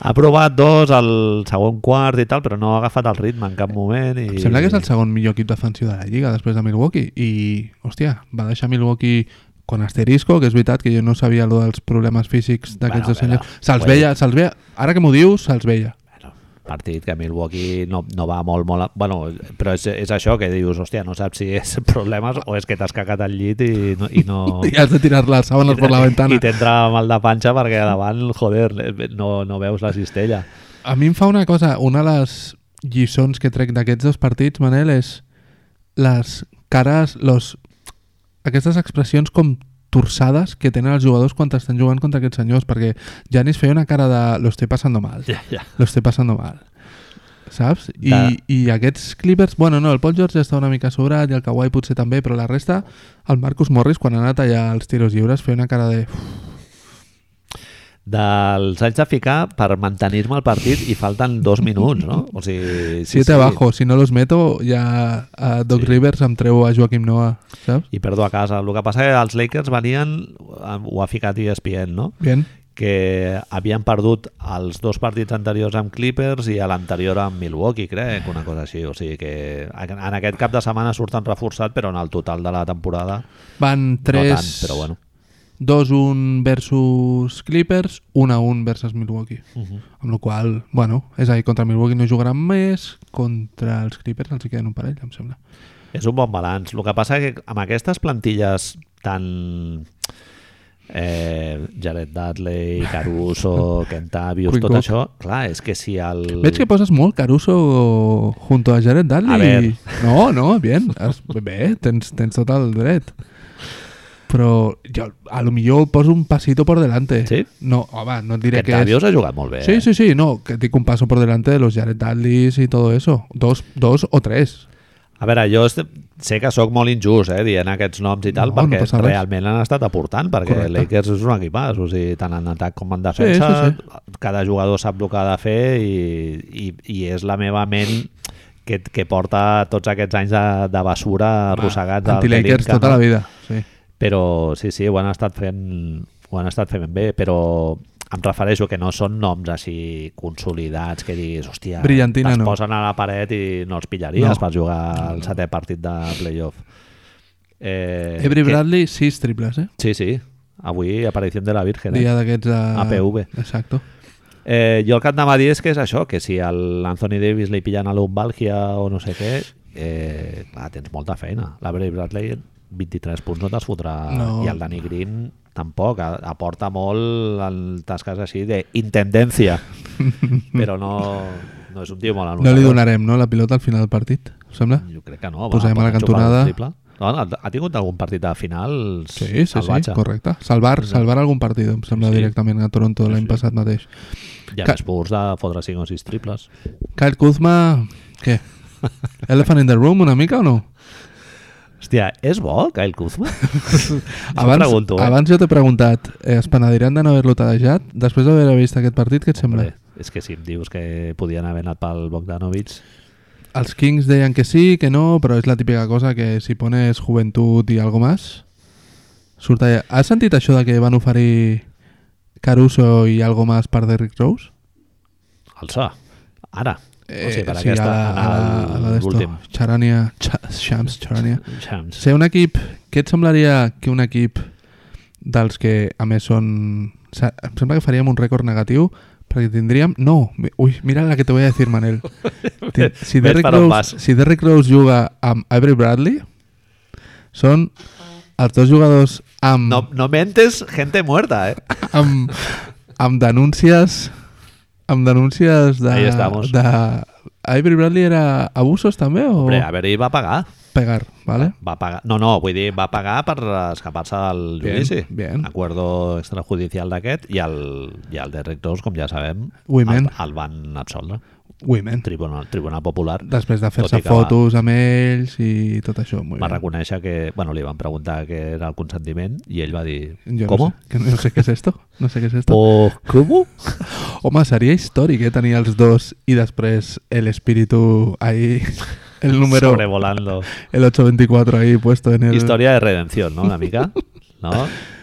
A: Ha provat dos al segon quart i tal, però no ha agafat el ritme en cap moment. I...
B: em sembla que és el segon millor equip defensiu de la Lliga després de Milwaukee i, hòstia, va deixar Milwaukee con asterisco, que és veritat que jo no sabia lo dels problemes físics
A: Bueno,
B: d'aquests
A: a
B: dos
A: veure,
B: senyors.
A: ho
B: Se'ls
A: he
B: veia, se'ls veia, ara que m'ho dius, se'ls veia.
A: Bueno, partit que Milwaukee no, no va molt, molt... A... Bueno, però és, és això que dius, hòstia, no saps si és problemes o és que t'has cacat al llit i no... I no...
B: I has de tirar les sàbanes per la ventana.
A: I t'entra mal de panxa perquè a davant, joder, no, no veus la cistella.
B: A mi em fa una cosa, una de les lliçons que trec d'aquests dos partits, Manel, és les cares, los aquestes expressions com torçades que tenen els jugadors quan estan jugant contra aquests senyors, perquè Janis feia una cara de lo estoy pasando mal,
A: Ja, ja.
B: lo estoy pasando mal, saps? I,
A: De-
B: I aquests Clippers, bueno, no, el Paul George ja està una mica sobrat i el Kawhi potser també, però la resta, el Marcus Morris, quan ha anat allà als tiros lliures, feia una cara de... "Uf,
A: Dels haig de ficar per mantenir-me el partit i falten dos minuts, no? O sigui, sí,
B: Siete
A: sí.
B: abajo, si no los meto, ja a Doc
A: Sí.
B: Rivers em treu a Joaquim Noah, saps?
A: I perdo a casa. El que passa és que els Lakers venien, eh, ho ha ficat E ESPN, no?
B: Bien.
A: que havien perdut els dos partits anteriors amb Clippers i a l'anterior amb Milwaukee, crec, una cosa així. O sigui que en aquest cap de setmana surten reforçat, però en el total de la temporada
B: Van
A: no tant,
B: 3,
A: però bueno.
B: 2-1 versus Clippers, 1-1 versus Milwaukee.
A: Uh -huh.
B: Amb la qual bueno, és a dir, contra Milwaukee no jugaran més, contra els Clippers els hi queden un parell, em sembla.
A: És un bon balanç. El que passa és que amb aquestes plantilles tan... Eh, Jared Dudley, Caruso, Kentavius,
B: Quick
A: tot
B: Cook.
A: això... Clar, és que si el...
B: Veig que poses molt Caruso junto a Jared Dudley.
A: A ver.
B: No, no, bien. Es- Bé, tens, tens tot el dret. Però jo, a lo millor poso un pasito por delante.
A: Sí?
B: No, home, no et diré que és...
A: Kentavius ha jugat molt bé.
B: Sí, sí, sí, no, que dic un paso por delante de los Jared Dudleys y todo eso. Dos, dos o tres.
A: A veure, jo est- sé que sóc molt injust eh, dient aquests noms i tal, no,
B: No,
A: perquè
B: no passa
A: no
B: res.
A: realment l'han estat aportant, perquè
B: Correcte.
A: Correcte. Lakers és un equipàs, o sigui, tant en atac com en defensa,
B: Sí,
A: sí, sí, sí. cada jugador sap el que ha de fer i, i, i és la meva ment que, que porta tots aquests anys de, de basura arrossegats al
B: Anti-Lakers
A: Pelinka,
B: tota
A: no?
B: la vida. Sí.
A: però sí, sí, ho han estat fent ho han estat fent bé, però em refereixo que no són noms així consolidats que diguis, hòstia,
B: Brillantina
A: te'ls
B: no.
A: posen a la paret i no els pillaries
B: No.
A: per jugar el setè partit de playoff. Eh,
B: Every
A: que-
B: Bradley, sis triples, eh?
A: Sí, sí. Avui, aparició de la Virgen. Eh?
B: Dia d'aquests... A...
A: APV.
B: Exacto.
A: Eh, jo el que anava a dir és que és això, que si a l'Anthony Davis li pillen a l'umbàlgia o no sé què, eh, clar, tens molta feina. La Bray Bradley 23 punts no te'ls fotrà
B: No.
A: i el Danny Green tampoc, A- aporta molt en tasques així d'intendència però no, no és un tio molt
B: No
A: anotador.
B: li donarem, no, la pilota al final del partit, em sembla?
A: Jo crec que no.
B: Posem a la
A: pot xupar
B: cantonada.
A: el triple. No, no, ha tingut algun partit de final
B: Sí, sí, sí,
A: salvatge.
B: correcte. Salvar, salvar algun partit, em sembla,
A: Sí.
B: directament a Toronto l'any passat mateix.
A: Hi ha
B: Ca-
A: més purs de fotre 5 o 6 triples.
B: Kyle Kuzma, què? Elephant in the room una mica o no?
A: Hòstia, és bo, Kyle Kuzma?
B: Abans,
A: pregunto, eh?
B: abans jo t'he preguntat, eh, es penediran de no haver-lo tadejat? Després d'haver vist aquest partit, què et sembla?
A: Hombre, és que si em dius que podien haver anat pel Bogdanovic...
B: Els Kings deien que sí, que no, però és la típica cosa que si pones joventut i algo más, surt allà. Has sentit això de que van oferir Caruso i algo más per Derrick Rose?
A: Alça, ara.
B: Eh,
A: o sigui, per
B: sí,
A: aquesta,
B: a la, a la, a
A: en
B: la d'esto.
A: l'últim.
B: Charania, Cha- Shams, Charania.
A: Champs.
B: Ser un equip, què et semblaria que un equip dels que, a més, són... sa- Em sembla que faríem un rècord negatiu, perquè tindríem... No, mi- ui, mira la que te voy a decir, Manel. Ti- Si
A: Ves
B: Derrick
A: per on
B: Rose,
A: vas.
B: si Derrick Rose juga amb Avery Bradley, són els dos jugadors amb,
A: No, no mentes gente muerta, eh?
B: amb, amb denúncies amb denúncies de...
A: Ahí estamos.
B: de Avery Bradley era abusos també o
A: Hombre, a veure, hi va pagar.
B: pegar, ¿vale?
A: Va pagar. No, no, vull dir, va pagar per escapar-se del
B: Bien,
A: judici.
B: bien.
A: Acuerdo extrajudicial d'aquest i el, i el Derrick Rose, com ja sabem,
B: Women.
A: el, el van absoldre.
B: Women.
A: Tribunal, Tribunal Popular.
B: Després de fer-se
A: Tot i que va-
B: fotos amb ells i tot això, molt
A: va
B: bé.
A: reconèixer que... Bueno, li van preguntar què era el consentiment i ell va dir...
B: Jo
A: ¿Cómo?
B: No sé, que no sé què és esto. No sé què és esto.
A: Pues, ¿cómo?
B: Home, seria històric, eh, tenir els dos i després el espíritu ahí, el número,
A: Sobrevolando.
B: el 824 ahí puesto en el...
A: Historia de redención, ¿no? Una mica. ¿No?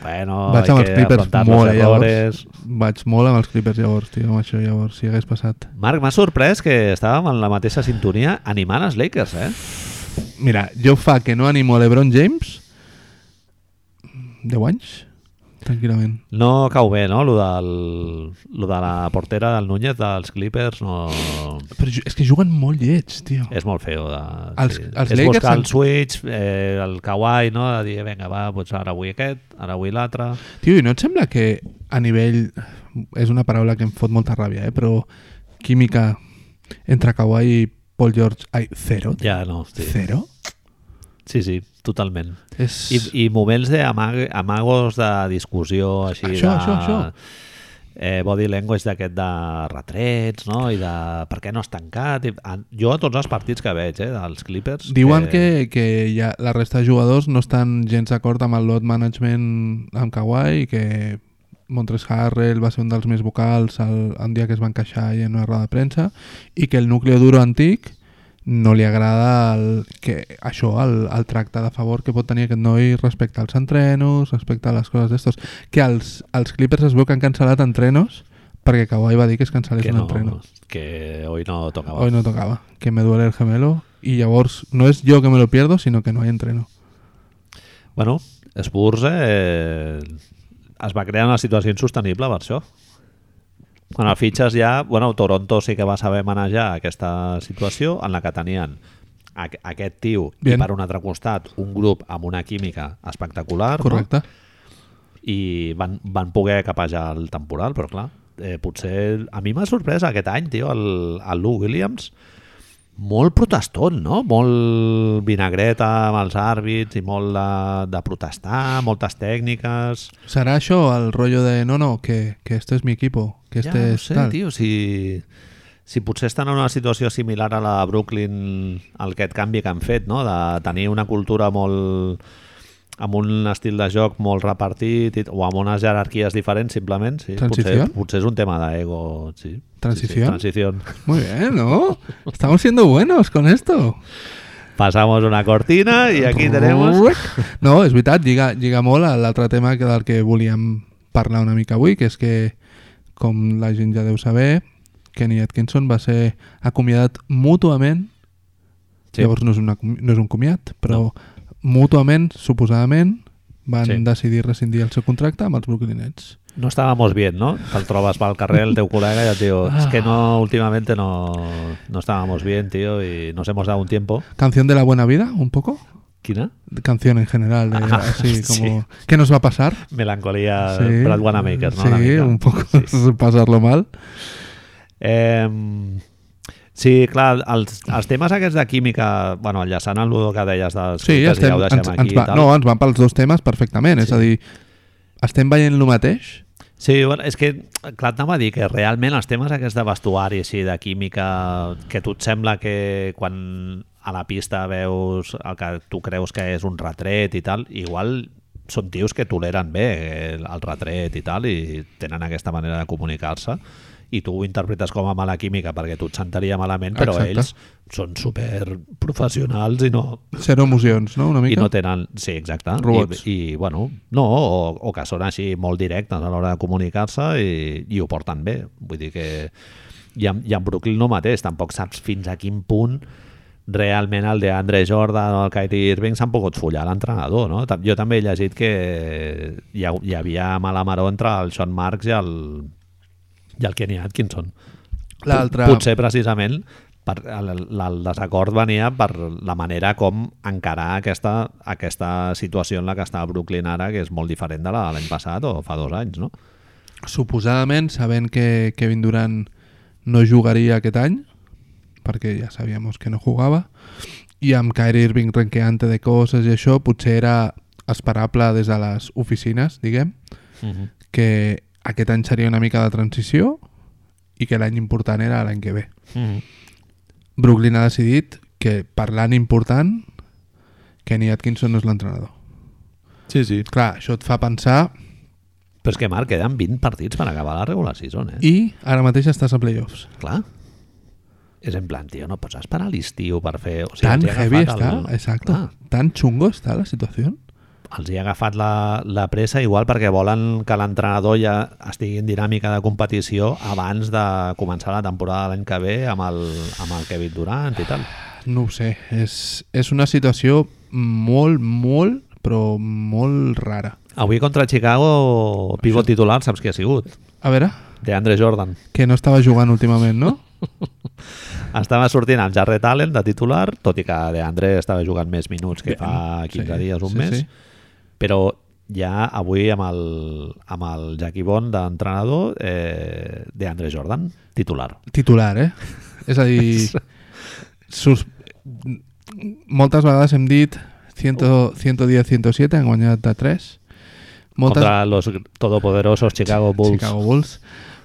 A: Bueno,
B: Vaig amb
A: hay
B: els
A: que
B: Clippers
A: afrontar los
B: molt, eh, llavors.
A: errores.
B: Vaig molt amb els Clippers llavors, tio, amb això llavors, si hagués passat.
A: Marc, m'ha sorprès que estàvem en la mateixa sintonia animant els Lakers, eh?
B: Mira, jo fa que no animo a l'Ebron James 10 anys, tranquil·lament.
A: No cau bé, no? Lo, del, lo de la portera del Núñez dels Clippers no...
B: Però ju- és que juguen molt llets, tio.
A: És molt feo. De,
B: Els-
A: sí.
B: els
A: és
B: Lakers
A: buscar
B: han-
A: el switch, eh, el kawaii, no? De dir, vinga, va, doncs ara avui aquest, ara avui l'altre...
B: Tio, i no et sembla que a nivell... És una paraula que em fot molta ràbia, eh? però química entre Kawhi i Paul George... Ai, zero?
A: Ja, no, sí.
B: Zero?
A: Sí, sí. totalment.
B: És...
A: I, i moments d'amagos amagos de discussió així de...
B: Això, això, això.
A: Eh, body language d'aquest de retrets no? i de per què no has tancat I, a, jo a tots els partits que veig eh, dels Clippers
B: Diuen que, que ja la resta de jugadors no estan gens d'acord amb el lot management amb Kawhi i que Montres Harrell va ser un dels més vocals el, un dia que es van queixar ahir en una roda de premsa i que el núcleo duro antic no li agrada el, que, això, el, el tracte de favor que pot tenir aquest noi respecte als entrenos, respecte a les coses d'estos. Que els, els Clippers es veu que han cancel·lat entrenos perquè Kawhi va dir que es cancel·lés
A: que
B: un
A: no,
B: entreno.
A: que hoy no tocava
B: Hoy no tocaba, que me duele el gemelo y Yavors no es yo que me lo pierdo, sino que no hay entreno.
A: Bueno, Spurs eh, es va crear una situació insostenible per això. Quan el fitxes ja... Bueno, Toronto sí que va saber manejar aquesta situació en la que tenien a- aquest tio
B: Bien.
A: i per un altre costat un grup amb una química espectacular
B: Correcte.
A: no? i van, van poder capejar el temporal però clar, eh, potser a mi m'ha sorprès aquest any tio, el, el Lou Williams molt protestant, no? Molt vinagreta amb els àrbits i molt de, de protestar, moltes tècniques.
B: ¿Será yo al rollo de no, no, que, que este es mi equipo, que este
A: ja, no
B: es
A: sé,
B: tal?
A: tio, si, si potser estan en una situació similar a la de Brooklyn, al aquest canvi que han fet, no? de tenir una cultura molt amb un estil de joc molt repartit i- o amb unes jerarquies diferents, simplement. Sí. Potser,
B: Transición?
A: potser és un tema d'ego. Sí. Sí, sí,
B: Transición?
A: transició.
B: Muy bien, ¿no? Estamos siendo buenos con esto.
A: Pasamos una cortina i aquí tenemos...
B: Ruec. No, és veritat, lliga, lliga molt a l'altre tema que del que volíem parlar una mica avui, que és que, com la gent ja deu saber, Kenny Atkinson va ser acomiadat mútuament,
A: Sí.
B: sí. llavors no és, una, no és un comiat, però no. mútuament, suposadament, van
A: Sí.
B: sí. decidir rescindir el seu contracte amb els Brooklyn Nets.
A: No estábamos bien, ¿no? Te'l trobes pel carrer, el teu col·lega, i et diu es que no, últimamente no, no estábamos bien, tío, y nos hemos dado un tiempo.
B: Canción de la buena vida, un poco?
A: Quina?
B: Canción en general, de,
A: Ah,
B: así
A: sí.
B: como... ¿Qué nos va a pasar?
A: Melancolía Brad Wanamaker, ¿no? Una
B: Sí,
A: mica.
B: un poco
A: Sí.
B: pasarlo mal.
A: Em, sí, clar, els, els temes aquests de química, bueno, enllaçant amb el que deies dels
B: Sí,
A: Clippers,
B: estem,
A: ja ho
B: ens,
A: deixem
B: ens,
A: aquí i
B: va,
A: tal.
B: no, ens van pels dos temes perfectament, és a dir, estem veient el mateix?
A: Sí, bueno, és que, clar, t'anava a dir que realment els temes aquests de vestuari, així, de química, que tu et sembla que quan a la pista veus el que tu creus que és un retret i tal, igual són tios que toleren bé eh, el retret i tal, i tenen aquesta manera de comunicar-se, i tu ho interpretes com a mala química perquè tu et sentaria malament, però
B: Exacte.
A: ells són super professionals i no,
B: Zero emocions, no? Una
A: i
B: mica?
A: no tenen... Sí, exacte.
B: Robots.
A: I, i bueno, no, o, o que són així molt directes a l'hora de comunicar-se i, i ho porten bé. Vull dir que... I amb, I amb Brooklyn no mateix, tampoc saps fins a quin punt realment el de Andre Jordan o el Kyrie Irving s'han pogut follar l'entrenador, no? Ta- Jo també he llegit que hi, ha, hi havia mala maró entre el Sean Marks i el, i el Kenny Atkinson.
B: L'altre-
A: Pot- Potser precisament per, el, el, el desacord venia per la manera com encarar aquesta, aquesta situació en la que està Brooklyn ara, que és molt diferent de la de l'any passat o fa dos anys, no?
B: Suposadament, sabent que Kevin Durant no jugaria aquest any, perquè ja sabíem que no jugava, i amb Kyrie Irving renqueante de coses i això, potser era esperable des de les oficines, diguem,
A: Uh -huh.
B: que aquest any seria una mica de transició i que l'any important era l'any que ve.
A: Uh -huh.
B: Brooklyn ha decidit que parlant important Kenny Atkinson no és l'entrenador.
A: Sí, sí.
B: Clar, això et fa pensar
A: Però és que, Marc, queden 20 partits per acabar la regular season, eh?
B: i ara mateix estàs a playoffs.
A: Clar. És en plan, tio, no pots esperar a l'estiu per fer... O sigui,
B: Tan
A: els hi ha
B: heavy
A: agafat
B: està, exacte.
A: Clar,
B: Tan xungo està la situació.
A: els hi ha agafat la, la pressa igual perquè volen que l'entrenador ja estigui en dinàmica de competició abans de començar la temporada de l'any que ve amb el, amb el Kevin Durant i tal.
B: No ho sé, és, és una situació molt, molt, però molt rara.
A: Avui contra Chicago, pivot titular, saps qui ha sigut?
B: A veure,
A: De Andre Jordan.
B: que no estava jugant últimament, no?
A: Estava sortint amb Jarret Allen de titular, tot i que de Andre estava jugant més minuts que fa 15
B: sí,
A: dies, un
B: sí,
A: mes.
B: sí.
A: Però ja avui amb el, amb el Jackie Bond d'entrenador eh, de Andre Jordan, titular.
B: titular, eh? És a dir, sus... moltes vegades hem dit 110-107 han guanyat de 3. Moltes,
A: Contra los todopoderosos Chicago Bulls.
B: Chicago Bulls.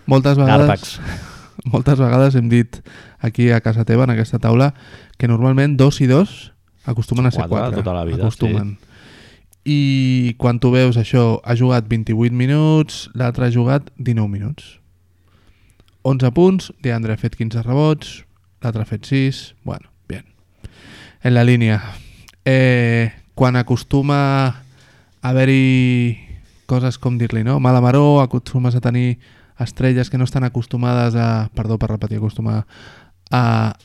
B: Moltes vegades...
A: Garpacs.
B: moltes vegades hem dit aquí a casa teva, en aquesta taula, que normalment dos i dos acostumen a ser
A: Quatre,
B: quatre.
A: tota la vida,
B: acostumen. Sí. I quan tu veus això, ha jugat 28 minuts, l'altre ha jugat 19 minuts. 11 punts, Leandre ha fet 15 rebots, l'altre ha fet 6, bueno, bien. En la línia. Eh, quan acostuma a haver-hi coses com dir-li, no? Mala maró, acostumes a tenir estrelles que no estan acostumades a... Perdó per repetir, acostumar a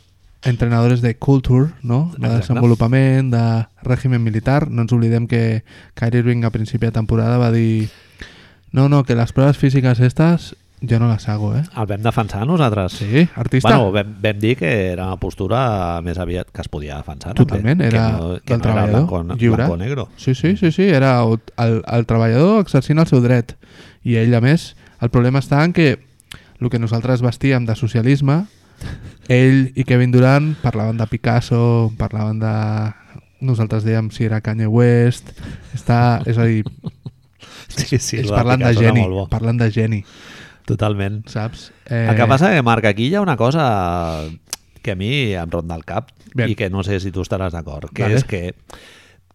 B: entrenadores de culture, no? De
A: Exacte.
B: desenvolupament, de règim militar. No ens oblidem que Kyrie Irving a principi de temporada va dir no, no, que les proves físiques estas jo no les hago, eh?
A: El vam defensar nosaltres.
B: Sí, artista.
A: Bueno, vam, vam dir que era una postura més aviat que es podia defensar.
B: Totalment,
A: també,
B: era
A: que no, que
B: del
A: no
B: treballador,
A: Era blanco,
B: lliure.
A: blanco negro.
B: Sí, sí, sí, sí, era el, el, el treballador exercint el seu dret. I ell, a més, el problema està en que el que nosaltres vestíem de socialisme, ell i Kevin Durant parlaven de Picasso, parlaven de... Nosaltres dèiem si era Kanye West, està, és a dir,
A: Sí, sí,
B: ells
A: la
B: parlant de
A: Picasso era
B: geni,
A: molt bo.
B: parlant de geni,
A: Totalment.
B: saps? Eh,
A: El que passa que, Marc, aquí hi ha una cosa que a mi em ronda el cap
B: Bien.
A: i que no sé si tu estaràs d'acord, que
B: Vale.
A: és que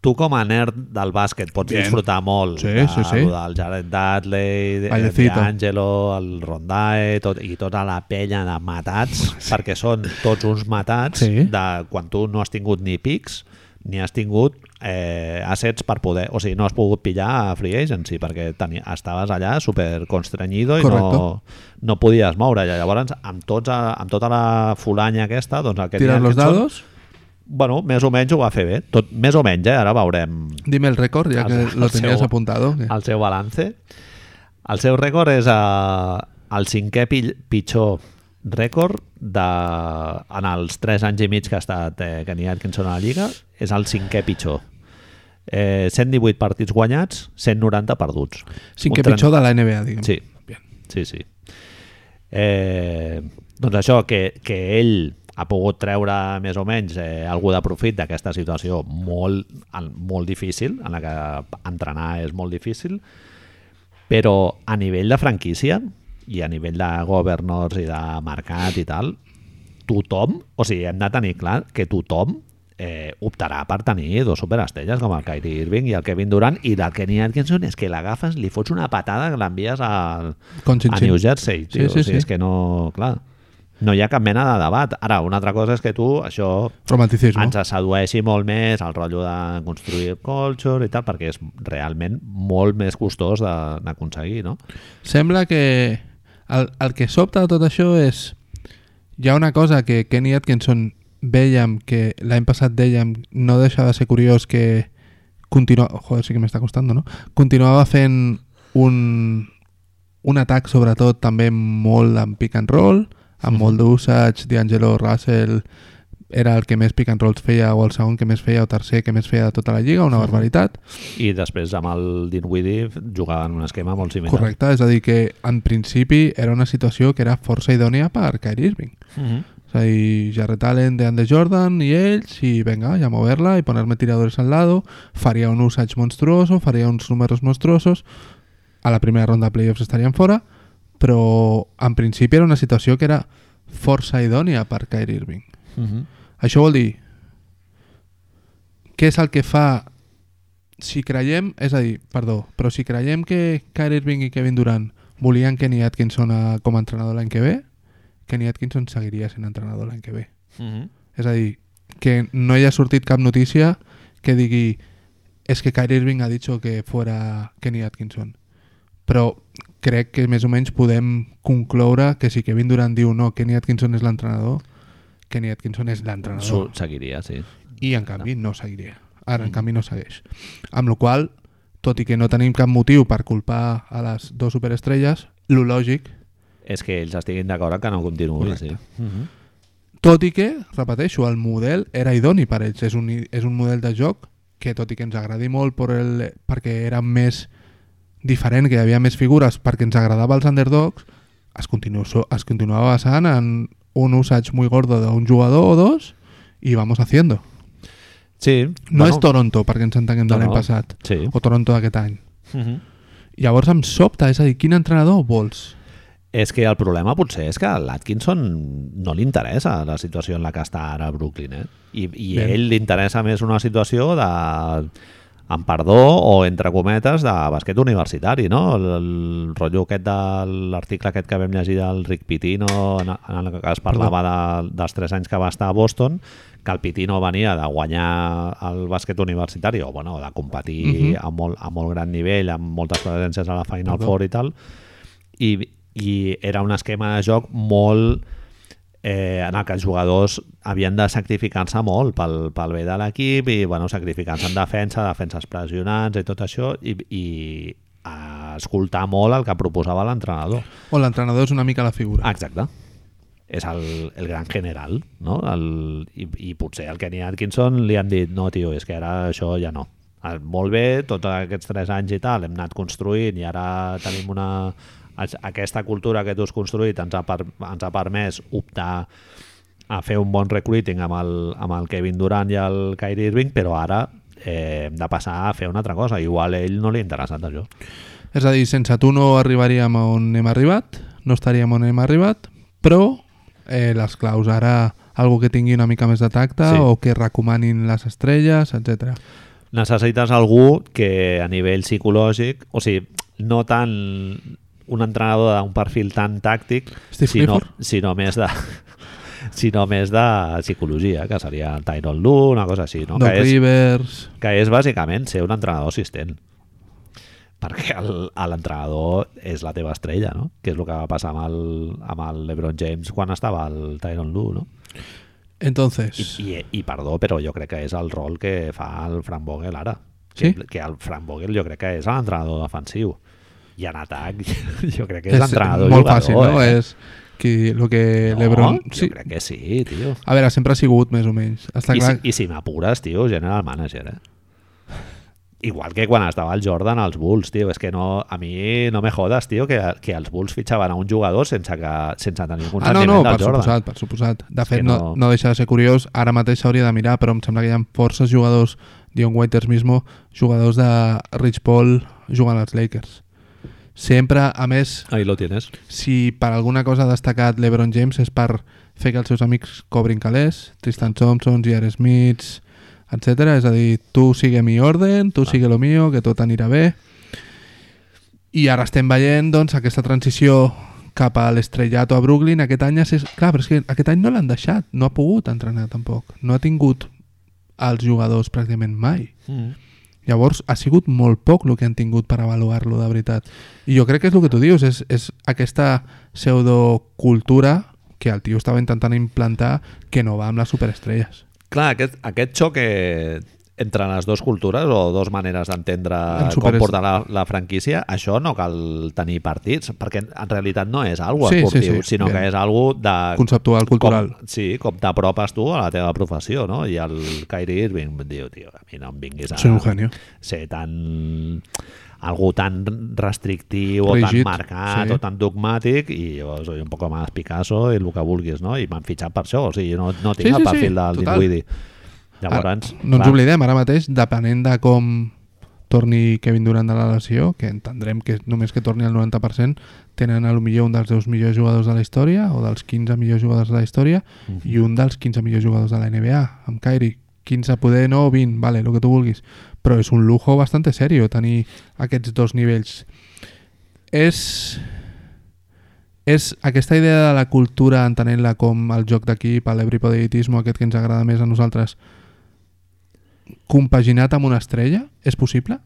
A: tu com a nerd del bàsquet pots
B: Bien.
A: disfrutar molt
B: Sí,
A: de,
B: sí, sí.
A: lo del Jared Dudley, de-
B: Vallecito.
A: D'Angelo, el Rondae tot, i tota la penya de matats, perquè són tots uns matats
B: Sí.
A: de quan tu no has tingut ni pics ni has tingut eh, assets per poder... O sigui, no has pogut pillar a Free Agency perquè teni, estaves allà super constreñido i no, no podies moure. I llavors, amb, tots, a- amb tota la fulanya aquesta, doncs el que
B: Tirar
A: tenen
B: los
A: aquests són-
B: dados,
A: Bueno, més o menys ho va fer bé. Tot, més o menys, eh? ara veurem
B: dime el rècord, ja que
A: El- Ah, el
B: lo tenías
A: seu-
B: apuntado.
A: el seu balance. El seu rècord és eh, el cinquè pill- pitjor rècord de, en els 3 anys i mig que ha estat eh, Kenny Atkinson a la Lliga. És el cinquè pitjor. Eh, 118 partits guanyats, 190 perduts.
B: Cinquè
A: Un tren-
B: pitjor de la NBA, diguem.
A: Sí. Sí, sí. Eh, doncs això, que, que ell ha pogut treure més o menys eh, algú de profit d'aquesta situació molt, en- molt difícil, en la que entrenar és molt difícil, però a nivell de franquícia i a nivell de governors i de mercat i tal, tothom, o sigui, hem de tenir clar que tothom eh, optarà per tenir dos superestrelles com el Kyrie Irving i el Kevin Durant i del Kenny Atkinson és que l'agafes, li fots una patada que l'envies al,
B: Com xin,
A: a
B: xin.
A: New Jersey, tio.
B: Sí, sí,
A: o sigui,
B: sí.
A: és que no, clar, no hi ha cap mena de debat. Ara, una altra cosa és que tu això
B: Romanticisme.
A: ens sedueixi molt més el rotllo de construir culture i tal, perquè és realment molt més costós de- d'aconseguir, no?
B: Sembla que el, el que sobta de tot això és hi ha una cosa que Kenny Atkinson vèiem que l'any passat dèiem no deixa de ser curiós que continua... Joder, sí que m'està costant, no? Continuava fent un, un atac sobretot també molt en pick and roll, amb molt d'usage, D'Angelo Russell era el que més pick and rolls feia o el segon que més feia o tercer que més feia de tota la lliga, una barbaritat.
A: I després amb el Dinwiddie jugaven un esquema molt similar.
B: Correcte, és a dir que en principi era una situació que era força idònia per Kyrie Irving.
A: Mhm.
B: És a dir, Jarrett Allen de Andy Jordan i ells, i venga, ja moverla i ponerme tiradores al lado, faria un usage monstruoso, faria uns números monstruosos, a la primera ronda de playoffs estarien fora, però en principi era una situació que era força idònia per Kyrie Irving.
A: Mhm.
B: Això vol dir què és el que fa si creiem, és a dir, perdó, però si creiem que Kyrie Irving i Kevin Durant volien Kenny Atkinson a, com a entrenador l'any que ve, Kenny Atkinson seguiria sent entrenador l'any que ve.
A: Mhm.
B: És a dir, que no hi ha sortit cap notícia que digui és que Kyrie Irving ha dit que fora Kenny Atkinson. Però crec que més o menys podem concloure que si Kevin Durant diu no, Kenny Atkinson és l'entrenador, Kenny Atkinson és l'entrenador.
A: Su- Seguiria, sí.
B: I en canvi no seguiria.
A: Mm.
B: Ara en canvi no segueix. Amb la qual cosa, tot i que no tenim cap motiu per culpar a les dues superestrelles, lo lògic,
A: És que ells estiguin d'acord que no continuï, sí. Mhm.
B: tot i que, repeteixo, el model era idoni per ells. És un, i- és un model de joc que, tot i que ens agradi molt per el, perquè era més diferent, que hi havia més figures, perquè ens agradava els underdogs, es, continu, so- es continuava basant en un usage muy gordo d'un jugador o dos i vamos haciendo.
A: Sí.
B: No
A: Bueno,
B: és Toronto, perquè ens entenguem de
A: No,
B: l'any
A: no.
B: passat,
A: Sí.
B: o Toronto d'aquest any.
A: Mhm.
B: Llavors em sobta, és a dir, quin entrenador vols?
A: És que el problema potser és que a l'Atkinson no li interessa la situació en la que està ara Brooklyn, eh? I, i a
B: Bé.
A: ell li interessa més una situació de amb perdó o entre cometes de basquet universitari, no? El, el rotllo aquest de l'article aquest que vam llegir del Rick Pitino en, en el que es parlava de, dels 3 anys que va estar a Boston que el Pitino venia de guanyar el bàsquet universitari o bueno, de competir a, molt, a molt gran nivell amb moltes presències a la Final
B: Perdó.
A: Four i tal i, i era un esquema de joc molt eh, en el que els jugadors havien de sacrificar-se molt pel, pel bé de l'equip i bueno, sacrificar-se en defensa, defenses pressionants i tot això i, i eh, escoltar molt el que proposava l'entrenador.
B: O l'entrenador és una mica la figura?
A: Exacte. És el, el gran general, no? El, i, I potser al Kenny Atkinson li han dit no, tio, és que ara això ja no. Ah, Molt bé, tots aquests tres anys i tal, hem anat construint i ara tenim una... as- Aquesta cultura que tu has construït ens ha, per, ens ha permès optar a fer un bon recruiting amb el, amb el Kevin Durant i el Kyrie Irving, però ara eh, hem de passar a fer una altra cosa. Igual a ell no li ha interessat això.
B: És a dir, sense tu no arribaríem on hem arribat, no estaríem on hem arribat, però eh, les claus ara algú que tingui una mica més de tacte
A: Sí.
B: sí. o que recomanin les estrelles, etc.
A: necessites algú que a nivell psicològic, o sigui, no tant un entrenador d'un perfil tan tàctic,
B: Steve
A: sinó,
B: Clifford?
A: sinó més de sinó més de psicologia, que seria Tyron Lue, una cosa així, no?
B: No, Doc
A: que, és,
B: Rivers...
A: que és bàsicament ser un entrenador assistent perquè el- a l'entrenador és la teva estrella, no? que és el que va passar amb el, amb el LeBron James quan estava el Tyron Lue. No?
B: Entonces,
A: I, i, I perdó, però jo crec que és el rol que fa el Fran Vogel ara.
B: Sí?
A: Que, que el Fran Vogel jo crec que és l'entrenador defensiu. I en atac jo crec que és,
B: és
A: l'entrenador
B: molt
A: jugador.
B: fàcil, no?
A: eh?
B: És qui, lo que
A: No,
B: LeBron...
A: Jo crec que sí, tio.
B: A veure, sempre ha sigut, més o menys. Està
A: I
B: clar...
A: si, I si m'apures, tio, general manager, eh? Igual que quan estava el Jordan als Bulls, tio. És que no, a mi no me jodes, tio, que, que els Bulls fitxaven a un jugador sense, que, sense tenir un
B: Ah, no, no,
A: consentiment
B: per
A: del Jordan.
B: suposat, per suposat. De
A: És
B: fet,
A: que
B: no...
A: no-
B: No, deixa de ser curiós. Ara mateix s'hauria de mirar, però em sembla que hi ha forces jugadors, Dion Waiters mismo, jugadors de Rich Paul jugant als Lakers. Sempre, a més,
A: Ahí lo tienes.
B: si per alguna cosa ha destacat LeBron James és per fer que els seus amics cobrin calés, Tristan Thompson, J.R. Smiths, etc. És a dir, tu sigue mi orden, tu sigue lo mío, que tot anirà bé. I ara estem veient doncs, aquesta transició cap a l'estrellato a Brooklyn aquest any és... Clar, però és que aquest any no l'han deixat, no ha pogut entrenar tampoc. No ha tingut els jugadors pràcticament mai.
A: Mm.
B: Llavors, ha sigut molt poc el que han tingut per avaluar-lo, de veritat. I jo crec que és el que tu dius, és, és aquesta pseudocultura que el tio estava intentant implantar que no va amb les superestrelles.
A: Clar, aquest, aquest xoc eh, entre les dues cultures o dues maneres d'entendre
B: En
A: com
B: superes-
A: porta la, la franquícia, això no cal tenir partits, perquè en- en realitat no és algo
B: Sí, sí,
A: esportiu,
B: sí,
A: sinó
B: bien.
A: que és algo de...
B: Conceptual, cultural.
A: Ah, Com, sí, com t'apropes tu a la teva professió, no? I el Kyrie Irving diu, tio, a mi no em vinguis a...
B: Soy un genio.
A: Ser tan... algú tan restrictiu o tan
B: Rígid,
A: marcat
B: sí.
A: o tan dogmàtic i jo soy un poco más Picasso i el que vulguis, no? I m'han fitxat per això, o sigui, no, no tinc sí,
B: Sí,
A: el
B: sí, sí,
A: perfil del
B: total.
A: Dinwiddie. Llavors,
B: Ara, no ens oblidem, ara mateix, depenent de com torni Kevin Durant de la lesió, que entendrem que només que torni al 90%, tenen a lo millor un dels 10 millors jugadors de la història o dels 15 millors jugadors de la història i un dels 15 millors jugadors de la NBA, amb Kyrie. 15 poder, no, 20, vale, el que tu vulguis. Però és un lujo bastante serio tenir aquests dos nivells. És és aquesta idea de la cultura, entenent-la com el joc d'equip, l'ebripodietisme, aquest que ens agrada més a nosaltres, compaginat amb una estrella, és possible?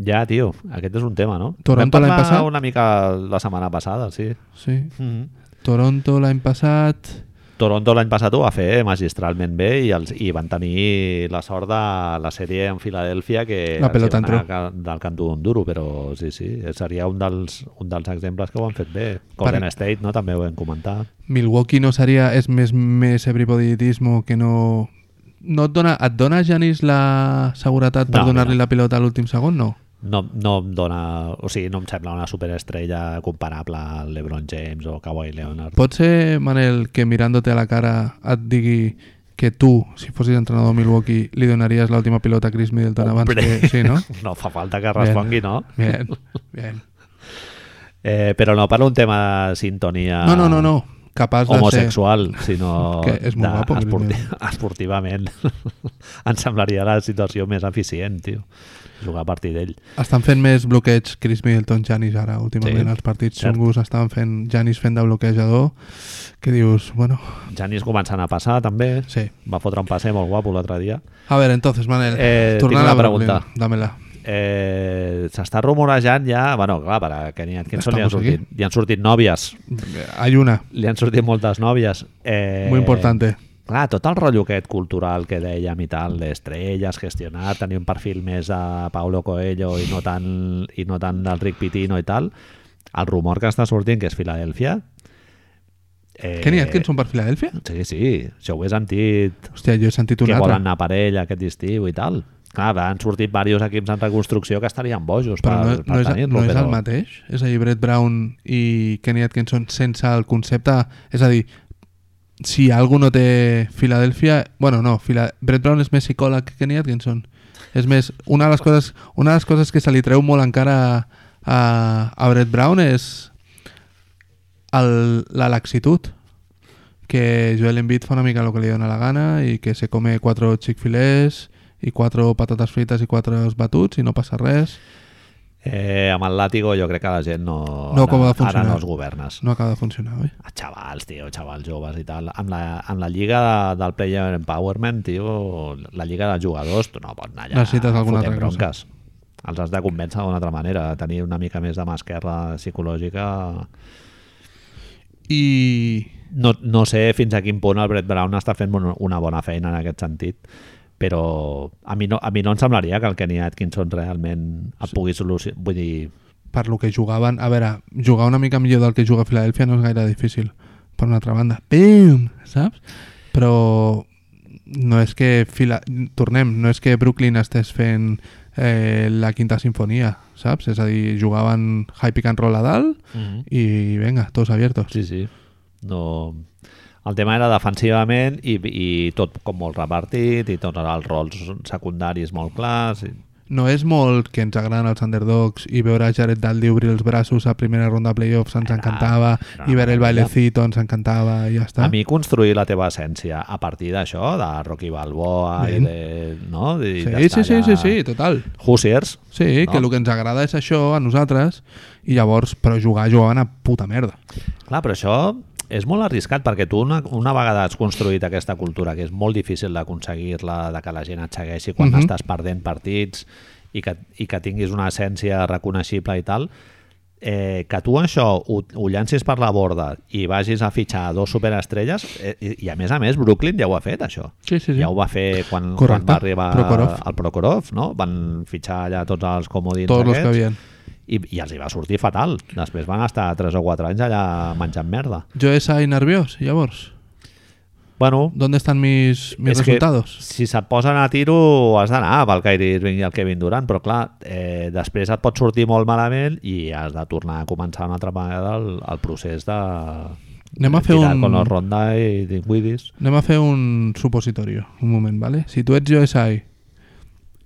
A: Ja, tio, aquest és un tema, no?
B: Toronto
A: Vam
B: l'any
A: parlar
B: passat?
A: una mica la setmana passada, sí.
B: Sí.
A: Mm
B: Toronto l'any passat...
A: Toronto l'any passat ho va fer magistralment bé i, els, i van tenir la sort de la sèrie en Filadèlfia que
B: La
A: els
B: pelota
A: hi va anar
B: entró.
A: ca- del cantó d'un duro, però sí, sí, seria un dels, un dels exemples que ho han fet bé. Golden
B: Per-
A: State, no? També ho hem comentat.
B: Milwaukee no seria... És més, més everybodyetismo que no... No et dona, et dona Janis la seguretat per
A: No,
B: donar-li
A: mira.
B: la pilota a l'últim segon? No.
A: No, no em dona... O sigui, no em sembla una superestrella comparable a LeBron James o Kawhi Leonard.
B: Pot ser, Manel, que mirándote a la cara et digui que tu, si fossis entrenador de Milwaukee, li donaries l'última pilota a Chris Middleton abans
A: Hombre.
B: que... Sí, no?
A: No fa falta que respongui, no?
B: Bien, bien.
A: Eh, però no per un tema de sintonia
B: No, no, no, no. Capaç de
A: homosexual, sinó
B: Que és molt guapo,
A: esporti
B: Chris
A: esportivament. em semblaria la situació més eficient, tio, jugar a partir d'ell.
B: ser... Estan fent més bloqueig Chris Middleton, Janis ara, últimament
A: Sí,
B: sí, als partits.
A: cert.
B: Xungus estan fent... Janis fent de bloquejador, que dius, bueno,
A: Janis començant a passar, també.
B: sí.
A: Va fotre un passe molt guapo l'altre dia.
B: A ver, entonces, Manel,
A: Eh,
B: tornant
A: tinc
B: a
A: una
B: Brooklyn,
A: pregunta.
B: Dámela.
A: Eh, S'està rumorejant ja... bueno, clar, per a Kenny Atkinson li han,
B: Estamos aquí.
A: sortit, li han sortit nòvies.
B: Eh, Hay una,
A: Li han sortit moltes nòvies. Eh,
B: muy importante.
A: Clar, tot el rotllo aquest cultural que dèiem i tal, d'estrelles, gestionar, tenir un perfil més de Paulo Coelho i no tant, i no tant del Rick Pitino i tal, el rumor que està sortint, que és Filadèlfia... Eh,
B: Kenny Atkinson per Filadèlfia?
A: Sí, sí, això ho he sentit,
B: Hòstia, jo he sentit un
A: que volen
B: altre.
A: anar per ell aquest estiu i tal. Clar, han sortit diversos equips en reconstrucció que estarien bojos
B: Però
A: per,
B: no,
A: per
B: no, és,
A: tenir-lo.
B: no és
A: però...
B: el mateix? És a dir, Brett Brown i Kenny Atkinson sense el concepte... És a dir, si algú no té Filadèlfia... Bueno, no, Fila... Brett Brown és més psicòleg que Kenny Atkinson. És més, una de les coses, una de les coses que se li treu molt encara a, a Brett Brown és el, la laxitud que Joel Embiid fa una mica el que li dona la gana i que se come quatre chick-fil-lés i quatre patates frites i quatre batuts i no passa res.
A: Eh, amb el làtigo jo crec que la gent no...
B: No
A: ara,
B: acaba de
A: ara
B: funcionar.
A: no els governes.
B: No acaba de funcionar, oi?
A: a xavals, tio, xavals joves i tal. En la, en la lliga de- del player empowerment, tio, la lliga de jugadors, tu no pots anar allà
B: Necessites alguna
A: fotent
B: altra cosa.
A: bronques. Els has de convèncer d'una altra manera, de tenir una mica més de mà esquerra psicològica.
B: I...
A: No, no sé fins a quin punt el Brett Brown està fent un- una bona feina en aquest sentit, però a mi no, a mi no em semblaria que el Kenny Atkinson realment el pugui solucionar. Vull dir,
B: per lo que jugaven... A veure, jugar una mica millor del que juga a Filadèlfia no és gaire difícil, per una altra banda. Pim! Saps? Però no és que... Fila... Tornem, no és que Brooklyn estés fent eh, la quinta sinfonia, saps? És a dir, jugaven high pick and roll a dalt i vinga, tots abiertos.
A: Sí, sí. No... El tema era defensivament i, i tot com molt repartit i tots els rols secundaris molt clars. I...
B: No és molt que ens agraden els underdogs i veure Jared Dudley obrir els braços a primera ronda de playoffs
A: Ah,
B: ens encantava
A: era
B: i
A: una
B: veure el
A: meravella.
B: bailecito ens encantava i ja està.
A: A mi construir la teva essència a partir d'això, de Rocky Balboa
B: Ben.
A: i de... No? I
B: Sí,
A: d'estar
B: sí, sí, sí,
A: allà-
B: sí, total.
A: Hoosiers.
B: Sí,
A: No?
B: no? que el que ens agrada és això a nosaltres i llavors, però jugar, jugaven a puta merda.
A: Clar, però això és molt arriscat perquè tu una, una vegada has construït aquesta cultura que és molt difícil d'aconseguir-la, de que la gent et segueixi quan
B: Mhm.
A: estàs perdent partits i que, i que tinguis una essència reconeixible i tal, eh, que tu això ho, ho llancis per la borda i vagis a fitxar dos superestrelles eh, i, i a més a més Brooklyn ja ho ha fet això
B: Sí, sí,
A: ja ho va fer quan, quan
B: Correcte.
A: va arribar
B: Prokhorov.
A: el Prokhorov no? van fitxar allà tots els comodins
B: Tots els que
A: aquests.
B: havien.
A: I, i els hi va sortir fatal. Després van estar 3 o 4 anys allà menjant merda.
B: Jo he estat nerviós, llavors.
A: Bueno,
B: ¿Dónde están mis, mis
A: és que
B: resultados?
A: si se't posen a tiro has d'anar pel Kyrie Irving i el Kevin Durant, però clar, eh, després et pot sortir molt malament i has de tornar a començar una altra vegada el, el procés de...
B: Anem a fer
A: tirar
B: un-
A: Con los Ronda i Dinwiddis.
B: Anem a fer un supositorio, un moment, ¿vale? Si tu ets jo SI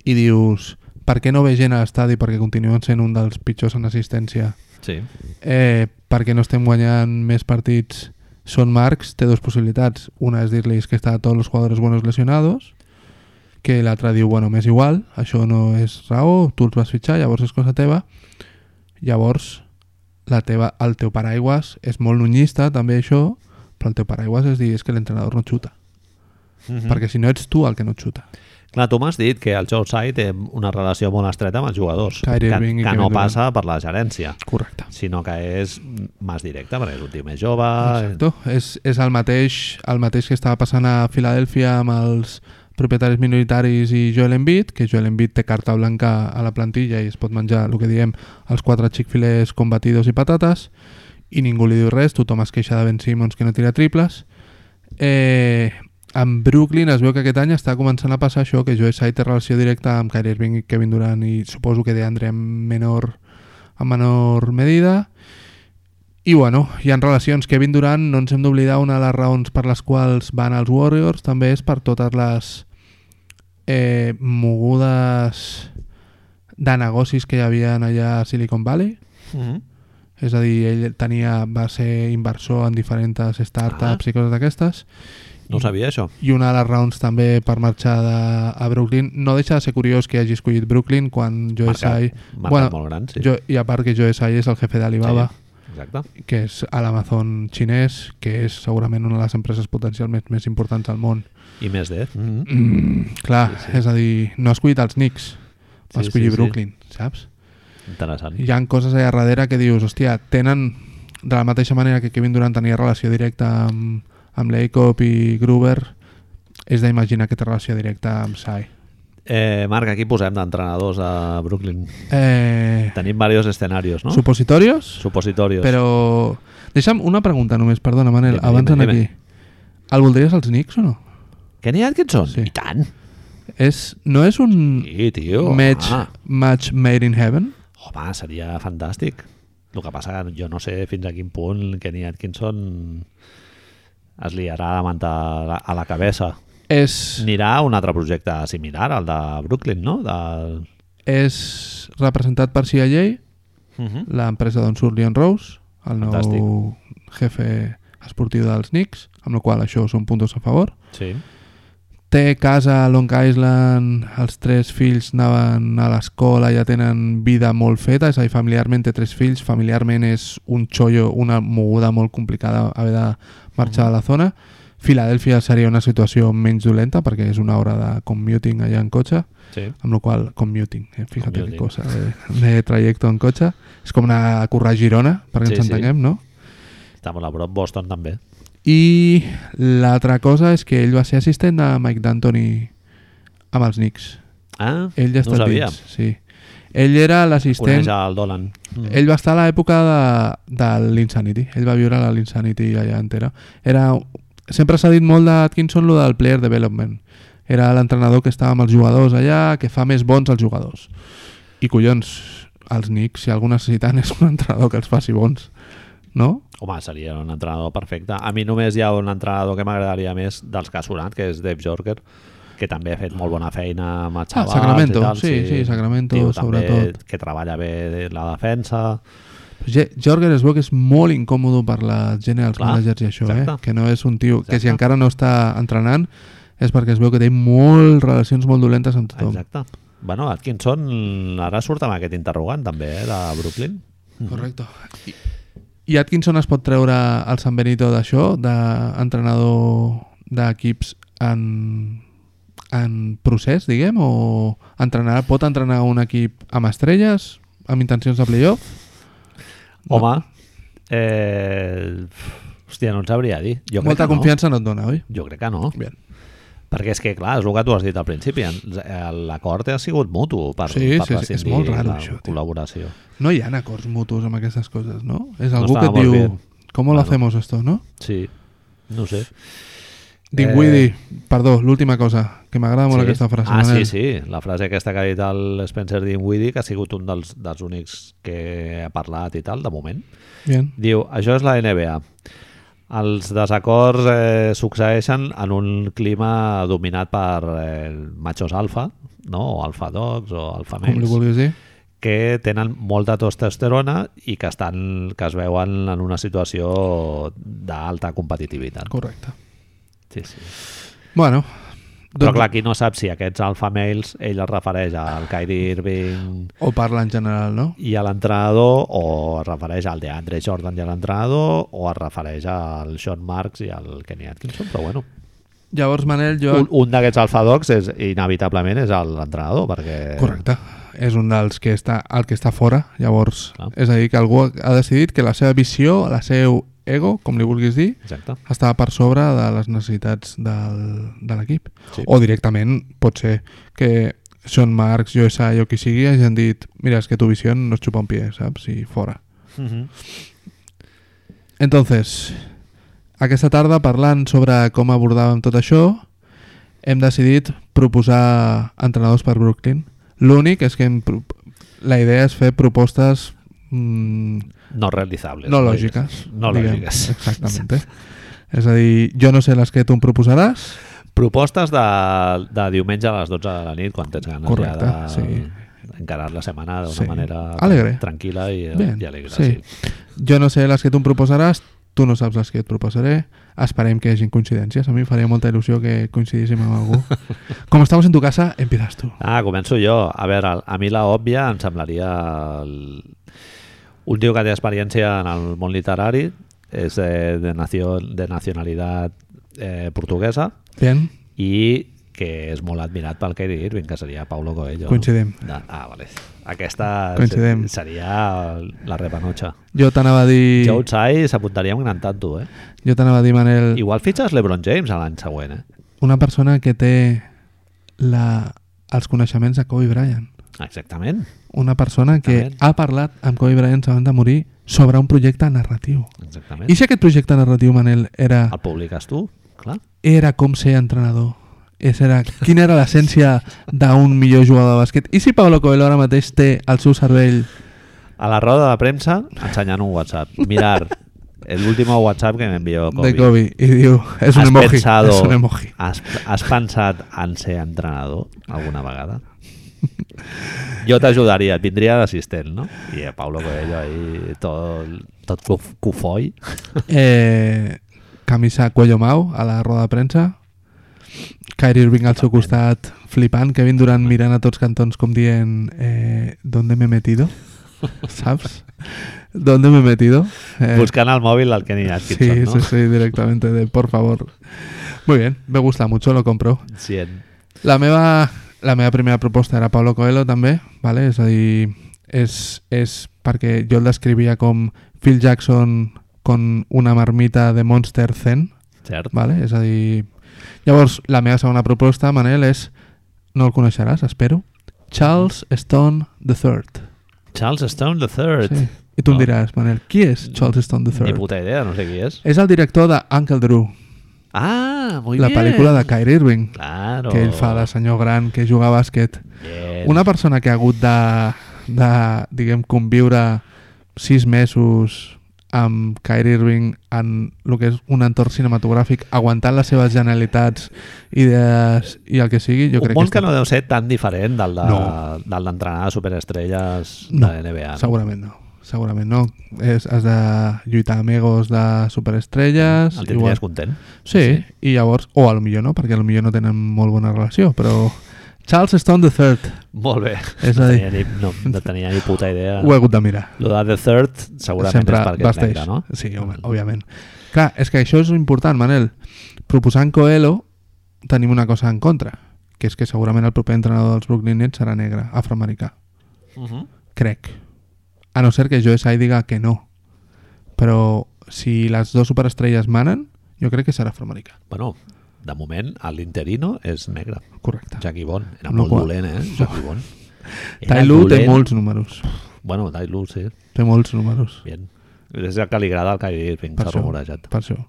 B: i dius per què no ve gent a l'estadi perquè continuen sent un dels pitjors en assistència
A: Sí.
B: Eh, perquè no estem guanyant més partits Son Marx té dues possibilitats. Una és dir-li que està tots els jugadors buenos lesionados, que l'altra diu, bueno, m'és igual, això no és raó, tu els vas fitxar, llavors és cosa teva. Llavors, la teva, el teu paraigües és molt nunyista, també això, però el teu paraigües és dir, és que l'entrenador no xuta.
A: Mm -hmm.
B: Perquè si no ets tu el que no xuta.
A: Clar, tu m'has dit que el Joe Tsai té una relació molt estreta amb els jugadors,
B: Kyrie
A: que,
B: Irving
A: que
B: i Kevin
A: no
B: Durant.
A: passa per la gerència,
B: Correcte.
A: sinó que és més directe, perquè és un tio més jove...
B: Exacto. És, és el, mateix, el mateix que estava passant a Filadèlfia amb els propietaris minoritaris i Joel Embiid, que Joel Embiid té carta blanca a la plantilla i es pot menjar el que diem els quatre xicfilers combatidos i patates i ningú li diu res, tothom es queixa de Ben Simmons que no tira triples eh, en Brooklyn es veu que aquest any està començant a passar això, que Joel Tsai té relació directa amb Kyrie Irving i Kevin Durant i suposo que DeAndre en menor, en menor medida I bueno, hi ha relacions. Kevin Durant, no ens hem d'oblidar, una de les raons per les quals van als Warriors també és per totes les eh, mogudes de negocis que hi havia allà a Silicon Valley.
A: Mm.
B: És a dir, ell tenia, va ser inversor en diferents startups ah. i coses d'aquestes. Mm.
A: No ho sabia, això.
B: I una de les raons també per marxar de, a Brooklyn. No deixa de ser curiós que hagi escollit Brooklyn quan Joe Tsai...
A: Mercat molt gran, sí.
B: jo, I a part que Joe Tsai és el jefe d'Alibaba. Sí
A: Exacte.
B: que és a l'Amazon xinès, que és segurament una de les empreses potencialment més importants al món.
A: I més de... Mm.
B: Mm, clar, sí, sí. és a dir, no has escollit els Knicks,
A: Sí,
B: vas escollir
A: sí, sí.
B: Brooklyn, saps?
A: Interessant.
B: Hi han coses allà darrere que dius, hòstia, tenen, de la mateixa manera que Kevin Durant tenia relació directa amb, amb Leikop i Gruber, és d'imaginar que té relació directa amb Sai.
A: Eh, Marc, aquí posem d'entrenadors a Brooklyn.
B: Eh,
A: Tenim varios escenarios, no?
B: Supositorios?
A: Supositorios.
B: Però... Deixa'm una pregunta només, perdona, Manel,
A: Dime,
B: abans
A: dime,
B: d'anar aquí.
A: dime.
B: El voldries als Knicks o no?
A: Kenny Atkinson?
B: Sí.
A: I tant.
B: És, no és un
A: Sí, Oh, ah. tio.
B: match,
A: Home,
B: match made in heaven?
A: home seria fantàstic. El que passa que jo no sé fins a quin punt Kenny Atkinson es liarà la manta a la, a la cabeza.
B: És,
A: Anirà a un altre projecte similar al de Brooklyn, no? De...
B: és representat per CIA,
A: Uh -huh.
B: l'empresa d'on surt Leon Rose, el nou
A: Fantàstic.
B: jefe esportiu dels Knicks, amb la qual cosa això són punts a favor.
A: Sí.
B: Té casa a Long Island, els tres fills anaven a l'escola, ja tenen vida molt feta, és a dir, familiarment té tres fills, familiarment és un xollo, una moguda molt complicada haver de marxar de
A: Mm.
B: la zona. Filadèlfia seria una situació menys dolenta perquè és una hora de commuting allà en cotxe,
A: sí.
B: amb la qual commuting, eh? fíjate
A: Commuting.
B: que cosa de, de trajecte en cotxe. És com anar a currar a Girona, perquè
A: Sí,
B: sí, ens
A: sí.
B: entenguem, no?
A: Està molt a prop. Boston també.
B: I l'altra cosa és que ell va ser assistent de Mike D'Antoni amb els Knicks.
A: Ah,
B: Ell ja
A: no ho
B: està
A: sabia.
B: dins, sí. Ell era l'assistent...
A: Coneix el Dolan. Mm.
B: Ell va estar a l'època de, de l'Insanity. Ell va viure a l'Insanity allà entera. Era... Sempre s'ha dit molt d'Atkinson lo del player development. Era l'entrenador que estava amb els jugadors allà, que fa més bons els jugadors. I collons, els Knicks, si algú necessiten, és un entrenador que els faci bons. No?
A: Home, seria un entrenador perfecte. A mi només hi ha un entrenador que m'agradaria més dels que ha sonat, que és Dave Jorger, que també ha fet molt bona feina amb els
B: Ah,
A: xavals
B: Sacramento,
A: i tal.
B: sí, sí, Sacramento, sobretot.
A: També que treballa bé la defensa.
B: Je- Jorger es veu que és molt incòmodo per la gent i els
A: Clar,
B: managers i això, eh?
A: exacte.
B: que no és un tio que si
A: Exacte.
B: encara no està entrenant és perquè es veu que té molt relacions molt dolentes amb tothom.
A: Exacte. Bueno, Atkinson ara surt amb aquest interrogant també, eh, de Brooklyn.
B: Correcte. I, I Atkinson es pot treure el San Benito d'això, d'entrenador d'equips en, en procés, diguem, o entrenar, pot entrenar un equip amb estrelles, amb intencions de playoff?
A: Home, eh, hòstia, no en sabria dir. Jo crec
B: Molta
A: que no.
B: confiança no et dona, oi?
A: Jo crec que no.
B: Bien.
A: Perquè és que, clar, és el que tu has dit al principi, en- eh, l'acord ha sigut mutu per,
B: Sí,
A: per
B: sí, sí, és
A: rescindir
B: molt raro,
A: la
B: això, tio.
A: col·laboració.
B: No hi ha acords mutus amb aquestes coses, no? És
A: No
B: algú que
A: estava
B: et diu,
A: molt bien.
B: ¿cómo lo
A: Bueno.
B: hacemos esto, no?
A: Sí, no ho sé.
B: Dinwiddie, perdó, l'última cosa, que m'agrada molt
A: Eh, sí.
B: aquesta frase.
A: Ah, sí,
B: Manel.
A: sí. La frase aquesta que ha dit el Spencer Dinwiddie, que ha sigut un dels, dels únics que ha parlat i tal, de moment.
B: Bien.
A: Diu, això és la NBA. Els desacords eh, succeeixen en un clima dominat per eh, machos alfa, no? o alfa dogs, o alfa
B: Com li
A: males.
B: vulguis dir?
A: que tenen molta testosterona i que, estan, que es veuen en una situació d'alta competitivitat.
B: Correcte.
A: Sí, sí.
B: Bueno,
A: Però
B: doncs-
A: clar, aquí no sap si aquests alfa males ell es refereix al Kyrie Irving
B: O parla en general, no?
A: i a l'entrenador o es refereix al DeAndre Jordan i a l'entrenador o es refereix al Sean Marks i al Kenny Atkinson, però bueno.
B: Llavors, Manel, jo...
A: Un, un d'aquests alfadocs és, inevitablement és el- l'entrenador perquè...
B: Correcte. És un dels que està, el que està fora, llavors.
A: Clar.
B: És a dir, que algú ha decidit que la seva visió, la seu ego, com li vulguis dir,
A: Exacte.
B: estava per sobre de les necessitats del, de l'equip.
A: Sí.
B: O directament pot ser que Sean Marks, jo Sai o qui sigui hagin dit, mira, és que tu visió no es xupa un pie, saps? I fora.
A: Mm -hmm.
B: Mhm. Entonces, aquesta tarda, parlant sobre com abordàvem tot això, hem decidit proposar entrenadors per Brooklyn. L'únic és que hem pro- la idea és fer propostes mm,
A: no realizables.
B: no
A: vull dir.
B: lògiques.
A: No
B: diguem.
A: lògiques.
B: Exactament. És a dir, jo no sé les que tu em proposaràs,
A: Propostes de, de diumenge a les 12 de la nit, quan tens ganes
B: Correcte,
A: ja de
B: sí.
A: encarar la setmana d'una
B: Sí.
A: manera
B: Alegre.
A: tranquil·la i,
B: Bien,
A: i alegre.
B: sí. Jo no sé les que tu em proposaràs, tu no saps les que jo et proposaré. Esperem que hi hagin coincidències. A mi em faria molta il·lusió que coincidíssim amb algú. Com estamos en tu casa, empiezas tu.
A: Ah, començo jo. A veure, a mi la òbvia em semblaria el... un tio que té experiència en el món literari, és eh, de, nació, de nacionalitat eh, portuguesa
B: Bien,
A: i que és molt admirat pel Kyrie Irving, que seria Paulo Coelho.
B: coincidim.
A: No? Ah, vale. Aquesta
B: Coincidim.
A: se- seria la repanotxa.
B: Jo t'anava a
A: I...
B: dir...
A: Joe Tsai s'apuntaria amb gran tanto, eh?
B: Jo t'anava a dir, Manel,
A: Igual fitxes LeBron James a l'any següent, eh?
B: una persona que té la, els coneixements de Kobe Bryant.
A: Exactament,
B: Una persona que
A: Exactament.
B: ha parlat amb Kobe Bryant abans de morir sobre un projecte narratiu.
A: exactament.
B: I si aquest projecte narratiu, Manel, era...
A: El publiques tu, clar.
B: era com ser entrenador. És era, quina era l'essència d'un millor jugador de bàsquet. I si Pablo Coelho ara mateix té al seu cervell...
A: A la roda de premsa, ensenyant un WhatsApp. Mirar, el último WhatsApp que me envió Kobe.
B: de Kobe i diu, és un
A: Has
B: emoji,
A: pensado-
B: és un emoji.
A: Has, has pensat en ser entrenador alguna vegada? Jo t'ajudaria, et vindria d'assistent, no? I a Paulo Coelho ahí tot, tot cuf- cufoi.
B: Eh, camisa cuello mau a la roda de premsa. Kyrie Irving al seu costat flipant, Kevin Durant mirant a tots cantons com dient eh, ¿Dónde me he metido? Saps? ¿Dónde me he metido? Eh,
A: Buscant al mòbil el Kenny Atkinson,
B: sí,
A: no?
B: sí, sí, directamente de por favor. Muy bien, me gusta mucho, lo compro.
A: sí. en-
B: La meva, la meva primera proposta era Pablo Coelho també, vale? és a dir, és, és perquè jo el descrivia com Phil Jackson con una marmita de Monster Zen,
A: Cert.
B: vale? és a dir... Llavors, la meva segona proposta, Manel, és... No el coneixeràs, espero. Charles Stone III.
A: Charles Stone III.
B: Sí. I tu
A: Oh.
B: em diràs, Manel, qui és Charles Stone
A: Ni
B: III?
A: puta idea, no sé qui és.
B: És el director de Uncle Drew,
A: Ah, muy
B: la
A: bien.
B: pel·lícula de Kyrie Irving,
A: Claro.
B: que ell fa de senyor gran que juga a bàsquet.
A: Bien.
B: Una persona que ha hagut de, de diguem, conviure sis mesos amb Kyrie Irving en el que és un entorn cinematogràfic, aguantant les seves genialitats, idees i el que sigui, jo
A: un
B: crec
A: món
B: que...
A: que no deu ser tan diferent del de-
B: No.
A: del d'entrenar de, superestrelles
B: No,
A: de NBA. no?
B: Segurament no. Segurament no. És, has de lluitar amb egos de superestrelles...
A: El tindries content.
B: Sí, i llavors... O a lo millor no, perquè a lo millor no tenen molt bona relació, però... Charles Stone III,
A: Molt bé.
B: És
A: no,
B: a dir-
A: tenia ni, no, no tenia ni puta idea.
B: ho he hagut de mirar.
A: Lo de The Third segurament
B: sempre
A: és perquè
B: basteix.
A: és negre, no? Mm.
B: Sí, home, òbviament. Clar, és que això és important, Manel. Proposant Coelho, tenim una cosa en contra, que és que segurament el proper entrenador dels Brooklyn Nets serà negre, afroamericà.
A: Uh -huh.
B: Crec. A no ser que Joe Tsai diga que no. Però si les dues superestrelles manen, jo crec que serà afroamericà.
A: Bueno, de moment, l'interino és negre.
B: Correcte.
A: Jackie Bond. Era
B: Amb la
A: molt
B: qual-
A: dolent, eh? Jackie Bond. Era
B: Tai Lu té
A: dolent.
B: molts números.
A: Bueno, Tai Lu, sí.
B: Té molts números.
A: Bien. És el que li agrada al Kyrie Irving,
B: Per
A: s'ha
B: això.
A: rumorejat.
B: Per això.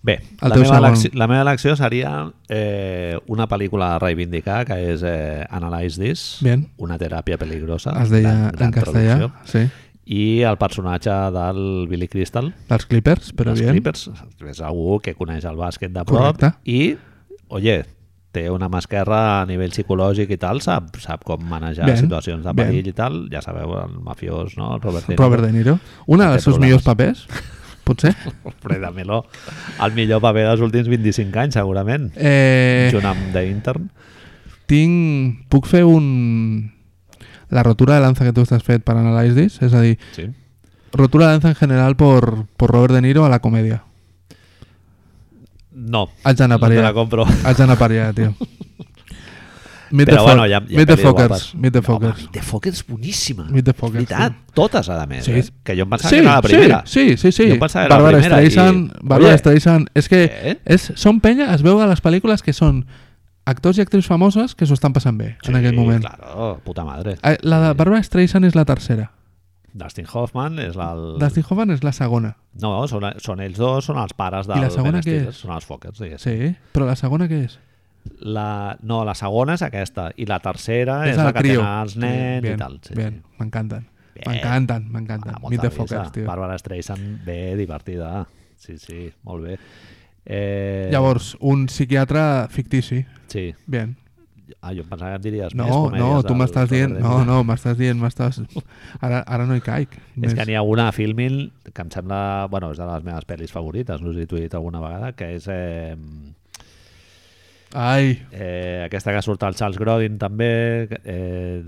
A: Bé,
B: El
A: la
B: teu
A: meva,
B: segon.
A: elecció, la meva elecció seria eh, una pel·lícula a reivindicar, que és eh, Analyze This,
B: Bien.
A: una teràpia peligrosa,
B: Es deia
A: gran- gran
B: en castellà.
A: Ah, traducció.
B: Sí.
A: i el personatge del Billy Crystal,
B: Dels Clippers, però
A: dels
B: bien.
A: Clippers, és algú que coneix el bàsquet de prop,
B: Correcte.
A: i, oye, té una mà esquerra a nivell psicològic i tal, sap, sap com manejar
B: Bien,
A: situacions de
B: bien.
A: perill i tal, ja sabeu, el mafiós, no? El Robert De Niro.
B: Robert De Niro. Una
A: No
B: dels
A: té
B: seus
A: problemes.
B: millors papers, potser.
A: Alfreda Melo, el millor paper dels últims 25 anys, segurament.
B: Eh,
A: Junt amb The Intern.
B: tinc... Puc fer un... La rotura de lanza que tu estàs fet per Analyze This? És a dir,
A: Sí.
B: rotura de lanza en general por, por Robert De Niro a la comèdia.
A: No,
B: Haig d'anar per
A: no te la
B: allà.
A: compro.
B: Haig d'anar per allà, tio. Meet the,
A: Però bueno,
B: Fo-
A: hi ha- hi ha
B: Meet the
A: pel·lis
B: Fockers.
A: guapes.
B: Meet the
A: Home,
B: Fockers.
A: Meet the Fockers és boníssima.
B: Meet the Fockers,
A: Veritat,
B: sí.
A: totes, a més.
B: Sí.
A: Eh? Que jo em pensava
B: Sí,
A: que era la primera.
B: sí, sí, sí,
A: Jo
B: sí.
A: em pensava que era la
B: Barbara
A: primera.
B: Streisand,
A: i...
B: Barbara
A: Oye, Eh,
B: Streisand. És que
A: Què?
B: és, són penya, es veu a les pel·lícules que són actors i actrius famoses que s'ho estan passant bé en
A: sí,
B: aquest moment.
A: Claro, puta madre.
B: Eh, La de Barbara Streisand és la tercera.
A: Dustin Hoffman és el...
B: Dustin Hoffman és la segona.
A: No, són, són ells dos, són els pares del
B: I la segona
A: Ben Stiller,
B: què és?
A: Són els Fockers, diguéssim.
B: Sí, però la segona què és?
A: La, no, la segona Ah, és aquesta, i la tercera és,
B: el
A: la que
B: trio.
A: tenen els nens
B: bien,
A: i tal. Sí,
B: bien, m'encanten. M'encanten, m'encanten.
A: Ah,
B: Meet
A: molta
B: the
A: risa.
B: Fockers, tio.
A: Bàrbara Streisand, bé divertida. Sí, sí, molt bé. Eh,
B: Llavors, un psiquiatre fictici.
A: Sí.
B: Bien.
A: Ah, jo em pensava que em diries més
B: No, no,
A: comèdies
B: tu
A: del- del
B: m'estàs dient...
A: Reddit.
B: No, no, m'estàs dient... M'estàs... Ara, ara no hi caic.
A: És que n'hi ha una a Filmin que em sembla... Bueno, és de les meves pel·lis favorites, no sé si t'ho he dit alguna vegada, que és... Eh,
B: Ai,
A: Eh, aquesta que surt al Charles Grodin també que- eh,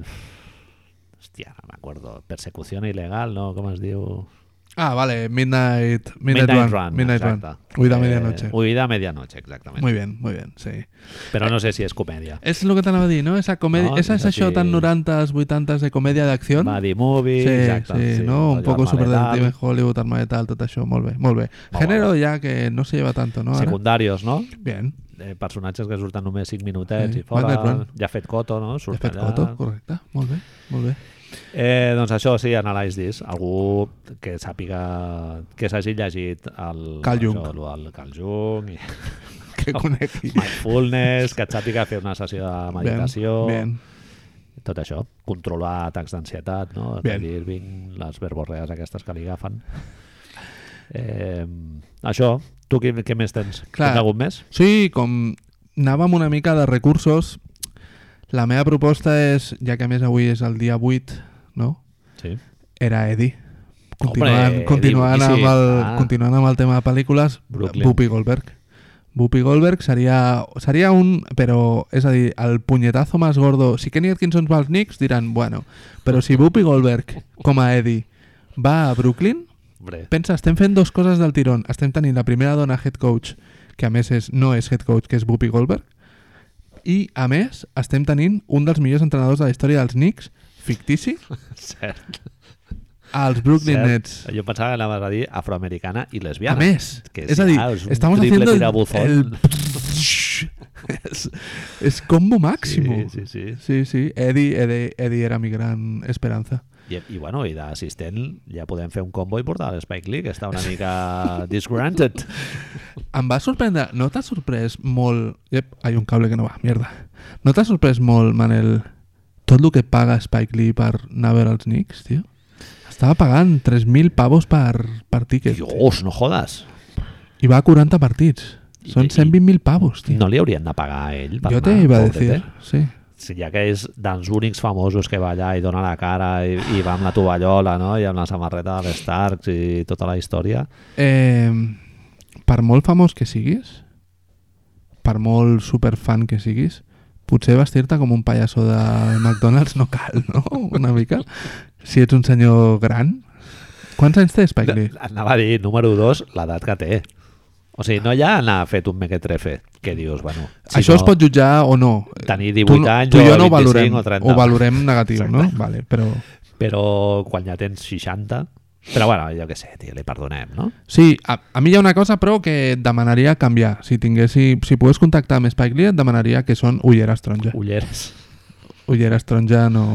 A: hòstia, no m'acordo persecució il·legal, no? Com es diu?
B: Ah, vale, Midnight, Midnight, Run. Midnight Run.
A: exacte.
B: Huida a
A: Eh,
B: medianoche.
A: Huida a medianoche, exactament
B: Muy bien, muy bien, sí.
A: però no sé si és comèdia
B: És el que t'anava a dir, no? Esa, comèdia,
A: No,
B: esa és
A: és
B: això
A: així.
B: tan 90s, 80s de comèdia d'acció.
A: Buddy Movie
B: sí,
A: exacte, doncs,
B: sí, no? Un
A: rotllo
B: poco superdetective
A: Armageddon,
B: en Hollywood, este arma de tal, tot això, molt bé, molt bé.
A: Molt
B: Género ja que no se lleva tanto, Ah, no? Ara?
A: secundarios, no?
B: Bien,
A: Eh, personatges que surten només 5 minutets
B: Sí,
A: i fora,
B: Midnight Run.
A: ja fet Coto, no?
B: de
A: Surt
B: fet,
A: allà.
B: Coto, correcte, molt bé, molt bé.
A: Eh, doncs això sí, Analyze This. Algú que sàpiga que s'hagi llegit el...
B: Carl Jung.
A: Això, el, el Carl Jung i
B: Que conegui.
A: Mindfulness, que et sàpiga fer una sessió de meditació,
B: Bien,
A: tot això. Controlar atacs d'ansietat, no?
B: Bien.
A: Bien. Irving, les verborrees aquestes que li agafen. Eh, això, tu què, què més tens?
B: Clar.
A: Tens algun més?
B: Sí, com anàvem una mica de recursos, la meva proposta és, ja que a més avui és el dia 8, no?
A: Sí.
B: era Eddie. Continuant,
A: Eddie,
B: continuant,
A: boníssim.
B: amb el,
A: Ah.
B: continuant amb el tema de pel·lícules,
A: Brooklyn.
B: Whoopi Goldberg. Whoopi Goldberg seria, seria un... Però, és a dir, el punyetazo més gordo... Si Kenny Atkinson va als Knicks, diran, bueno... Però si Whoopi Goldberg, com a Eddie, va a Brooklyn,
A: Hombre,
B: pensa, estem fent dos coses del tirón. Estem tenint la primera dona head coach, que a més és, no és head coach, que és Whoopi Goldberg, i, a més, estem tenint un dels millors entrenadors de la història dels Knicks, fictici,
A: cert.
B: als Brooklyn
A: cert.
B: Nets.
A: Jo pensava que anaves a dir afroamericana i lesbiana.
B: A més,
A: Que
B: es
A: sí,
B: decir,
A: ah, és un
B: estamos
A: triple
B: haciendo el,
A: tirabuzón.
B: el- es, es combo máximo.
A: Sí, sí, sí.
B: Sí, sí, Eddie, Eddie, Eddie era mi gran esperanza.
A: I, i bueno, i d'assistent ja podem fer un combo i portar l'Spike Lee, que està una mica disgranted.
B: Em va sorprendre, no t'ha sorprès molt... Ep, hay un cable que no va, mierda. No t'ha sorprès molt, Manel, tot el que paga Spike Lee per anar a veure els Knicks, tio? Estava pagant 3.000 pavos per, per tiquet.
A: Dios, no jodes.
B: I va a 40 partits. Són
A: I- i-
B: 120.000 pavos, tio.
A: No li haurien de pagar a ell. per
B: Jo te
A: anar,
B: iba a
A: pobret,
B: decir,
A: eh?
B: sí.
A: Si ja que és dels únics famosos que va allà i dona la cara i, i va amb la tovallola no? i amb la samarreta de les Starks i tota la història.
B: Eh, per molt famós que siguis, per molt superfan que siguis, potser vestir-te com un pallasso de McDonald's no cal, no? Una mica. Si ets un senyor gran... Quants anys té Spike Lee?
A: Anava a dir, número dos, l'edat que té. O sigui, no ja n'ha fet un mequetrefe, que dius, bueno... Si no,
B: Això es pot jutjar o no.
A: Tenir
B: Tu,
A: 18
B: no-
A: anys
B: tu i jo no
A: o
B: ho valorem,
A: 25 o 30.
B: ho valorem negatiu, no? Vale, però...
A: Però quan ja tens 60... Però bueno, jo què sé, tio, li perdonem, no?
B: Sí, a, a mi hi ha una cosa, però, que et demanaria canviar. Si tinguessi, si pogués contactar amb Spike Lee, et demanaria que són ulleres taronja.
A: Ulleres.
B: Ulleres taronja no...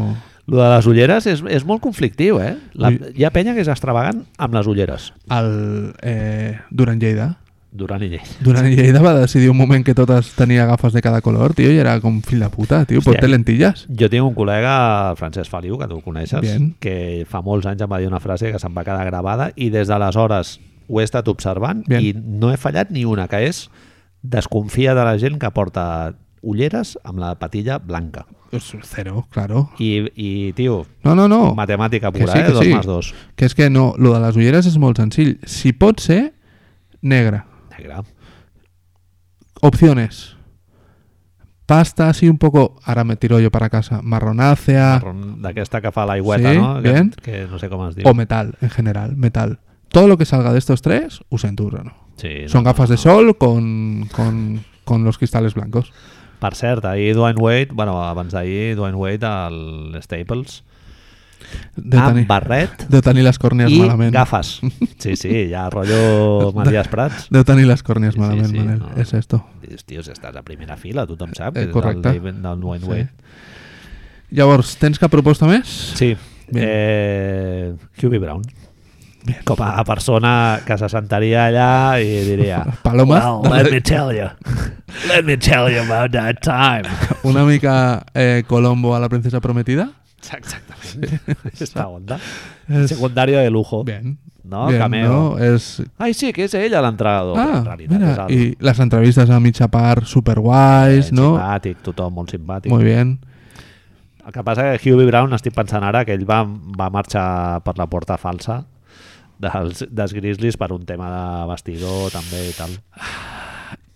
A: Lo de les ulleres és, és molt conflictiu, eh? La,
B: Ui.
A: hi ha penya que és extravagant amb les ulleres.
B: el, eh, Duran Lleida.
A: Durant i llei.
B: Duran i Lleida va decidir un moment que totes tenia gafes de cada color, tio, i era com fill de puta, tio,
A: Hòstia.
B: porté lentillas.
A: Jo tinc un col·lega, el Francesc Feliu, que tu el coneixes,
B: Bien.
A: que fa molts anys em va dir una frase que se'm va quedar gravada i des d'aleshores ho he estat observant
B: Bien.
A: i no he fallat ni una, que és desconfia de la gent que porta ulleres amb la patilla blanca.
B: Pues Cero, claro.
A: I, i tio,
B: No, no, no.
A: matemàtica
B: Oh. Que
A: pura,
B: sí,
A: eh?
B: que
A: Dos
B: sí.
A: más dos.
B: Que és que no, lo de les ulleres és molt senzill. Si pot ser, negra.
A: Negra.
B: Opciones. Pasta así un poco, ahora me tiro yo para casa, marronácea
A: Marrón, D'aquesta que fa l'aigüeta,
B: Ah. Sí,
A: no? Que,
B: bien.
A: que no sé com es diu.
B: o metal, en general, metal. Todo lo que salga de estos tres, usen turno.
A: Sí,
B: Son
A: no,
B: gafas
A: no,
B: de sol con, con, con los cristales blancos.
A: Per cert, ahir Dwayne Wade, bueno, abans d'ahir Dwayne Wade al Staples,
B: De
A: amb
B: tenir-
A: barret
B: Deu tenir les còrnies
A: i
B: malament.
A: gafes. Sí, sí, ja rotllo Matías Prats.
B: Deu tenir les còrnies
A: Sí, sí,
B: malament,
A: sí,
B: Manel.
A: no.
B: És esto.
A: Dius, tios, estàs a primera fila, tothom sap
B: Eh,
A: que
B: correcte.
A: és el David- del Dwayne
B: Sí.
A: Wade.
B: Llavors, tens cap proposta més?
A: Sí.
B: Bien.
A: Eh, Hubie Brown. com a persona que s'assentaria allà i diria
B: Paloma,
D: Well, let me tell you. Let me tell you about that time.
B: una mica eh, Colombo a la princesa prometida.
A: Exactamente. Esta onda. Secundario de lujo.
B: Bien.
A: No,
B: Bien,
A: cameo.
B: ¿no? Es...
A: Ay, sí, que es ella la entrada.
B: Ah,
A: en realidad es
B: mira,
A: algo.
B: y las entrevistas a mitja part super guais,
A: Bien,
B: ¿no?
A: Simpàtic, tothom molt simpàtic.
B: Muy bien.
A: El que passa que Hubie Brown, estic pensant ara, que ell va, va marxar per la porta falsa dels, dels Grizzlies per un tema de vestidor també i tal.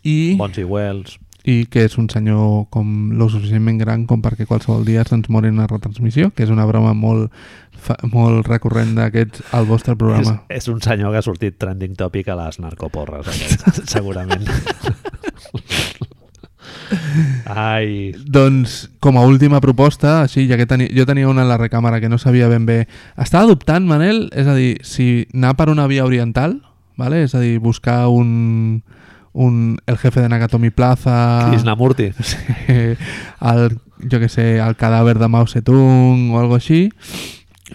B: I,
A: Bonsi Wells.
B: i que és un senyor com lo suficientment gran com perquè qualsevol dia se'ns mori en una retransmissió, que és una broma molt, fa, molt recurrent d'aquests al vostre
A: És,
B: programa.
A: és un senyor que ha sortit trending topic a les narcoporres, aquest, segurament. Ai,
B: Doncs, com a última proposta, així, ja que teni... jo tenia una a la recàmera que no sabia ben bé... Estava dubtant, Manel, és a dir, si anar per una via oriental, vale? és a dir, buscar un, un, el jefe de Nakatomi Plaza...
A: Krishnamurti.
B: Sí, el, jo que sé, el cadàver de Mao Zedong o algo així.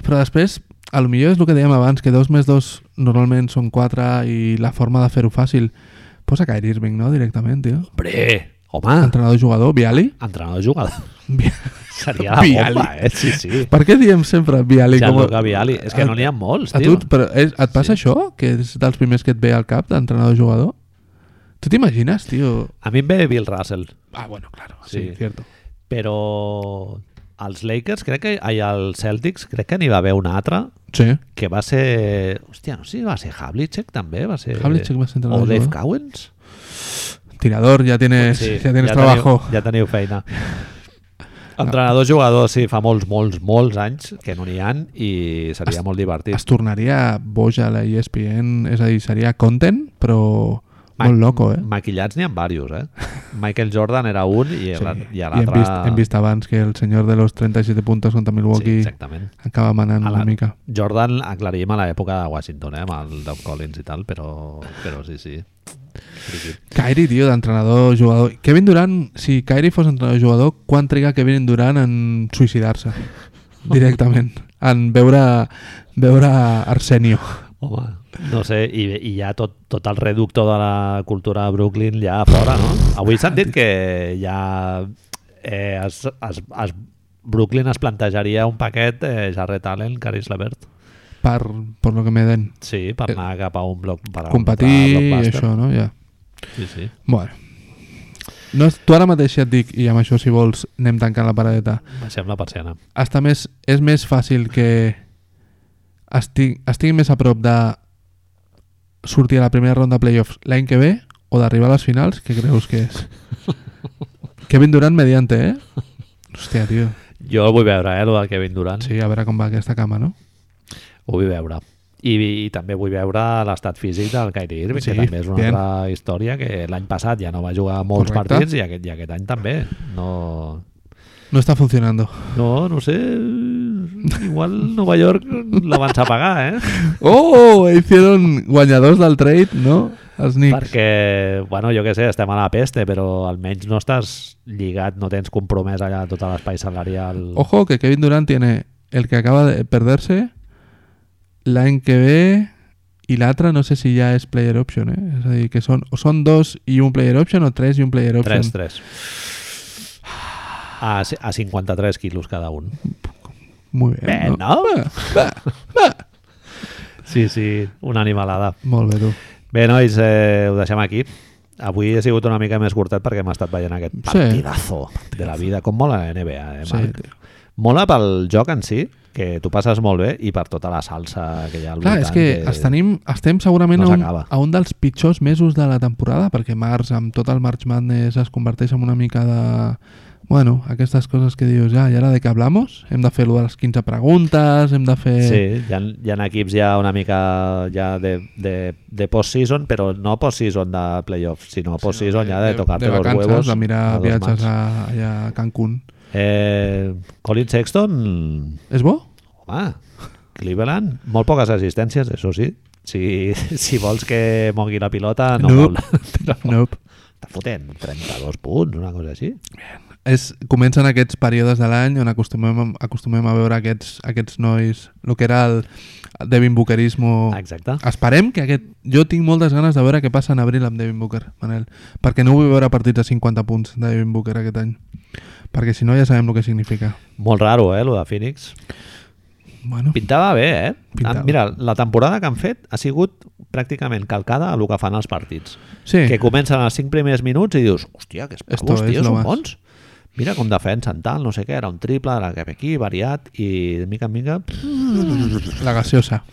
B: Però després, a lo millor és el que dèiem abans, que dos més dos normalment són quatre i la forma de fer-ho fàcil. Posa Kyrie Irving, no?, directament, tio.
A: Hombre, home,
B: Entrenador-jugador, Viali.
A: entrenador-jugador.
B: Vi-
A: Seria la
B: Viali.
A: bomba, eh? Sí, sí.
B: Per què diem sempre Viali?
A: Gianluca Viali. És que no n'hi ha molts,
B: A
A: tio.
B: tu, però és, et passa sí. això? Que és dels primers que et ve al cap d'entrenador-jugador? Tu t'imagines, tio?
A: A mi em ve Bill Russell.
B: Ah, bueno, claro.
A: Sí.
B: cierto.
A: però als Lakers crec que ai, als Celtics crec que n'hi va haver una altra
B: Sí.
A: que va ser hòstia, no sé si va ser Havlicek també va ser
B: Havlicek va
A: o
B: ser entrenador, Eh,
A: Dave
B: no?
A: Cowens
B: Tirador, ya tienes, ya tienes trabajo.
A: teniu, ja teniu feina entrenador jugador sí, fa molts, molts, molts anys que no n'hi ha i seria molt divertit
B: es tornaria boja la E ESPN, és a dir, seria content, però
A: Ma-
B: molt loco, eh?
A: maquillats n'hi ha diversos eh? Michael Jordan era un i
B: Sí.
A: l'al- i
B: I hem,
A: l'altre
B: vist, hem vist abans que el senyor de los 37 puntos contra
A: sí,
B: Milwaukee
A: exactament
B: acaba manant
A: A la-
B: una mica.
A: Jordan aclarim a l'època de Washington, eh, amb el Doc Collins i tal, però, però sí, sí. Friqui.
B: Kyrie, tio, d'entrenador, jugador... Kevin Durant, si Kyrie fos entrenador jugador, quan triga Kevin Durant en suïcidar-se? Directament. En veure, veure Arsenio.
A: Home, no sé, i, i ja tot, tot el reductor de la cultura de Brooklyn ja a fora, no? Avui s'han dit que ja eh, es, es, es, Brooklyn es plantejaria un paquet eh, Jarret Allen, Caris Levert.
B: Per, per lo que me den.
A: Sí, per anar cap a un bloc... Per a un
B: Eh, Competir i
A: blockbuster.
B: això, no? Ja.
A: Sí, sí.
B: Bueno. No, és- tu ara mateix ja et dic, i amb això si vols anem tancant la paradeta,
A: Baixem la persiana.
B: està més, és més fàcil que estigui, estigui més a prop de sortir a la primera ronda de playoffs l'any que ve o d'arribar a les finals, que creus que és? Kevin Durant mediante, eh? Hòstia, tio.
A: Jo vull veure, eh, el del Kevin Durant.
B: Sí, a veure com va aquesta cama, no?
A: Ho vull veure. I, I també vull veure l'estat físic del Kyrie Irving, sí,
B: Sí,
A: que també és una
B: bien.
A: altra història que l'any passat ja no va jugar molts
B: Correcte.
A: partits i aquest, i aquest any també. No,
B: No està funcionando.
A: no, no sé... Igual Nova York la van a pagar, eh?
B: Oh, hicieron guanyadors del trade, no? Els Knicks.
A: Perquè, bueno, jo què sé, estem a la peste, però almenys no estàs lligat, no tens compromès allà tot l'espai salarial.
B: Ojo que Kevin Durant tiene el que acaba de perderse, la en que ve y la otra no sé si ya es player option, ¿eh? Es decir, que son, o son dos y un player option o tres y un player option.
A: 3-3. A, a 53 quilos cada un.
B: Muy bien.
A: Bé,
B: Eh, ¿no?
A: no? Sí, sí, una animalada.
B: Molt bé, tu.
A: Bé, nois, eh, ho deixem aquí. Avui he sigut una mica més curtet perquè hem estat veient aquest partidazo de la vida. Com mola la NBA, eh,
B: Sí,
A: Marc? mola pel joc en si, que tu passes molt bé, i per tota la salsa que hi ha al
B: Clar,
A: voltant.
B: és que, els tenim, estem segurament
A: no
B: a, un,
A: s'acaba.
B: a un dels pitjors mesos de la temporada, perquè març, amb tot el March Madness, es converteix en una mica de... Bueno, aquestes coses que dius, ja, i ara de què hablamos? Hem de fer lo de les 15 preguntes, hem de fer...
A: Sí, hi ha, hi ha equips ja una mica ja de, de, de post-season, però no post-season de playoffs, sinó post-season ja de, tocar-te los
B: vacances,
A: huevos.
B: de mirar
A: a dos
B: viatges
A: mans.
B: a, allà a Cancún.
A: Eh, Colin Sexton,
B: És bo?
A: Home, Cleveland, molt poques assistències, això sí. Si, si vols que mogui la pilota, no
B: Nope.
A: mou-la.
B: Nope.
A: Està fotent 32 punts, una cosa així.
B: és, comencen aquests períodes de l'any on acostumem, acostumem a veure aquests, aquests nois, el que era el Devin Bookerismo.
A: Exacte.
B: Esperem que aquest... Jo tinc moltes ganes de veure què passa en abril amb Devin Booker, Manel, perquè no vull veure partits de 50 punts de Devin Booker aquest any, perquè si no ja sabem el que significa.
A: Molt raro, eh, lo de Phoenix.
B: Bueno,
A: Pintava bé, eh?
B: Pintava.
A: Ah, Mira, la temporada que han fet ha sigut pràcticament calcada a el que fan els partits.
B: sí,
A: Que comencen els cinc primers minuts i dius, hòstia, que
B: Esto
A: espavos,
B: es
A: tio,
B: lo
A: són
B: más."
A: bons. Mira com defensen, tal, no sé què, era un triple, ara cap aquí, variat, i de mica en mica...
B: la gaseosa.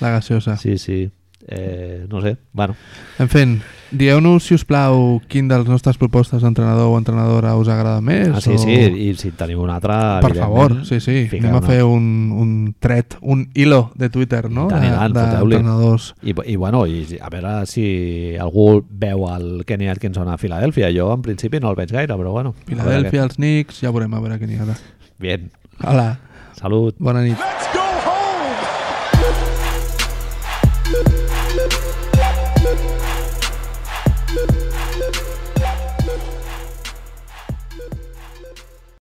B: La gaseosa.
A: Sí, sí, eh, no sé, bueno,
B: En fi, dieu-nos, si us plau, quin dels nostres propostes d'entrenador o entrenadora us agrada més.
A: Ah, sí,
B: o...
A: sí, i si en tenim un altre...
B: Per favor,
A: evidentment,
B: sí, sí.
A: ficar
B: Anem a
A: una-
B: fer un, un tret, un hilo de Twitter, no?
A: I tant, i tant, foteu-li.
B: d'entrenadors.
A: I, I bueno, i a veure si algú veu el Kenny Atkinson a Filadèlfia. Jo en principi no el veig gaire, però bueno. a veure
B: Filadèlfia, els Knicks, ja veurem a veure què n'hi ha.
A: què- Bien.
B: Hola,
A: Salut.
B: bona nit.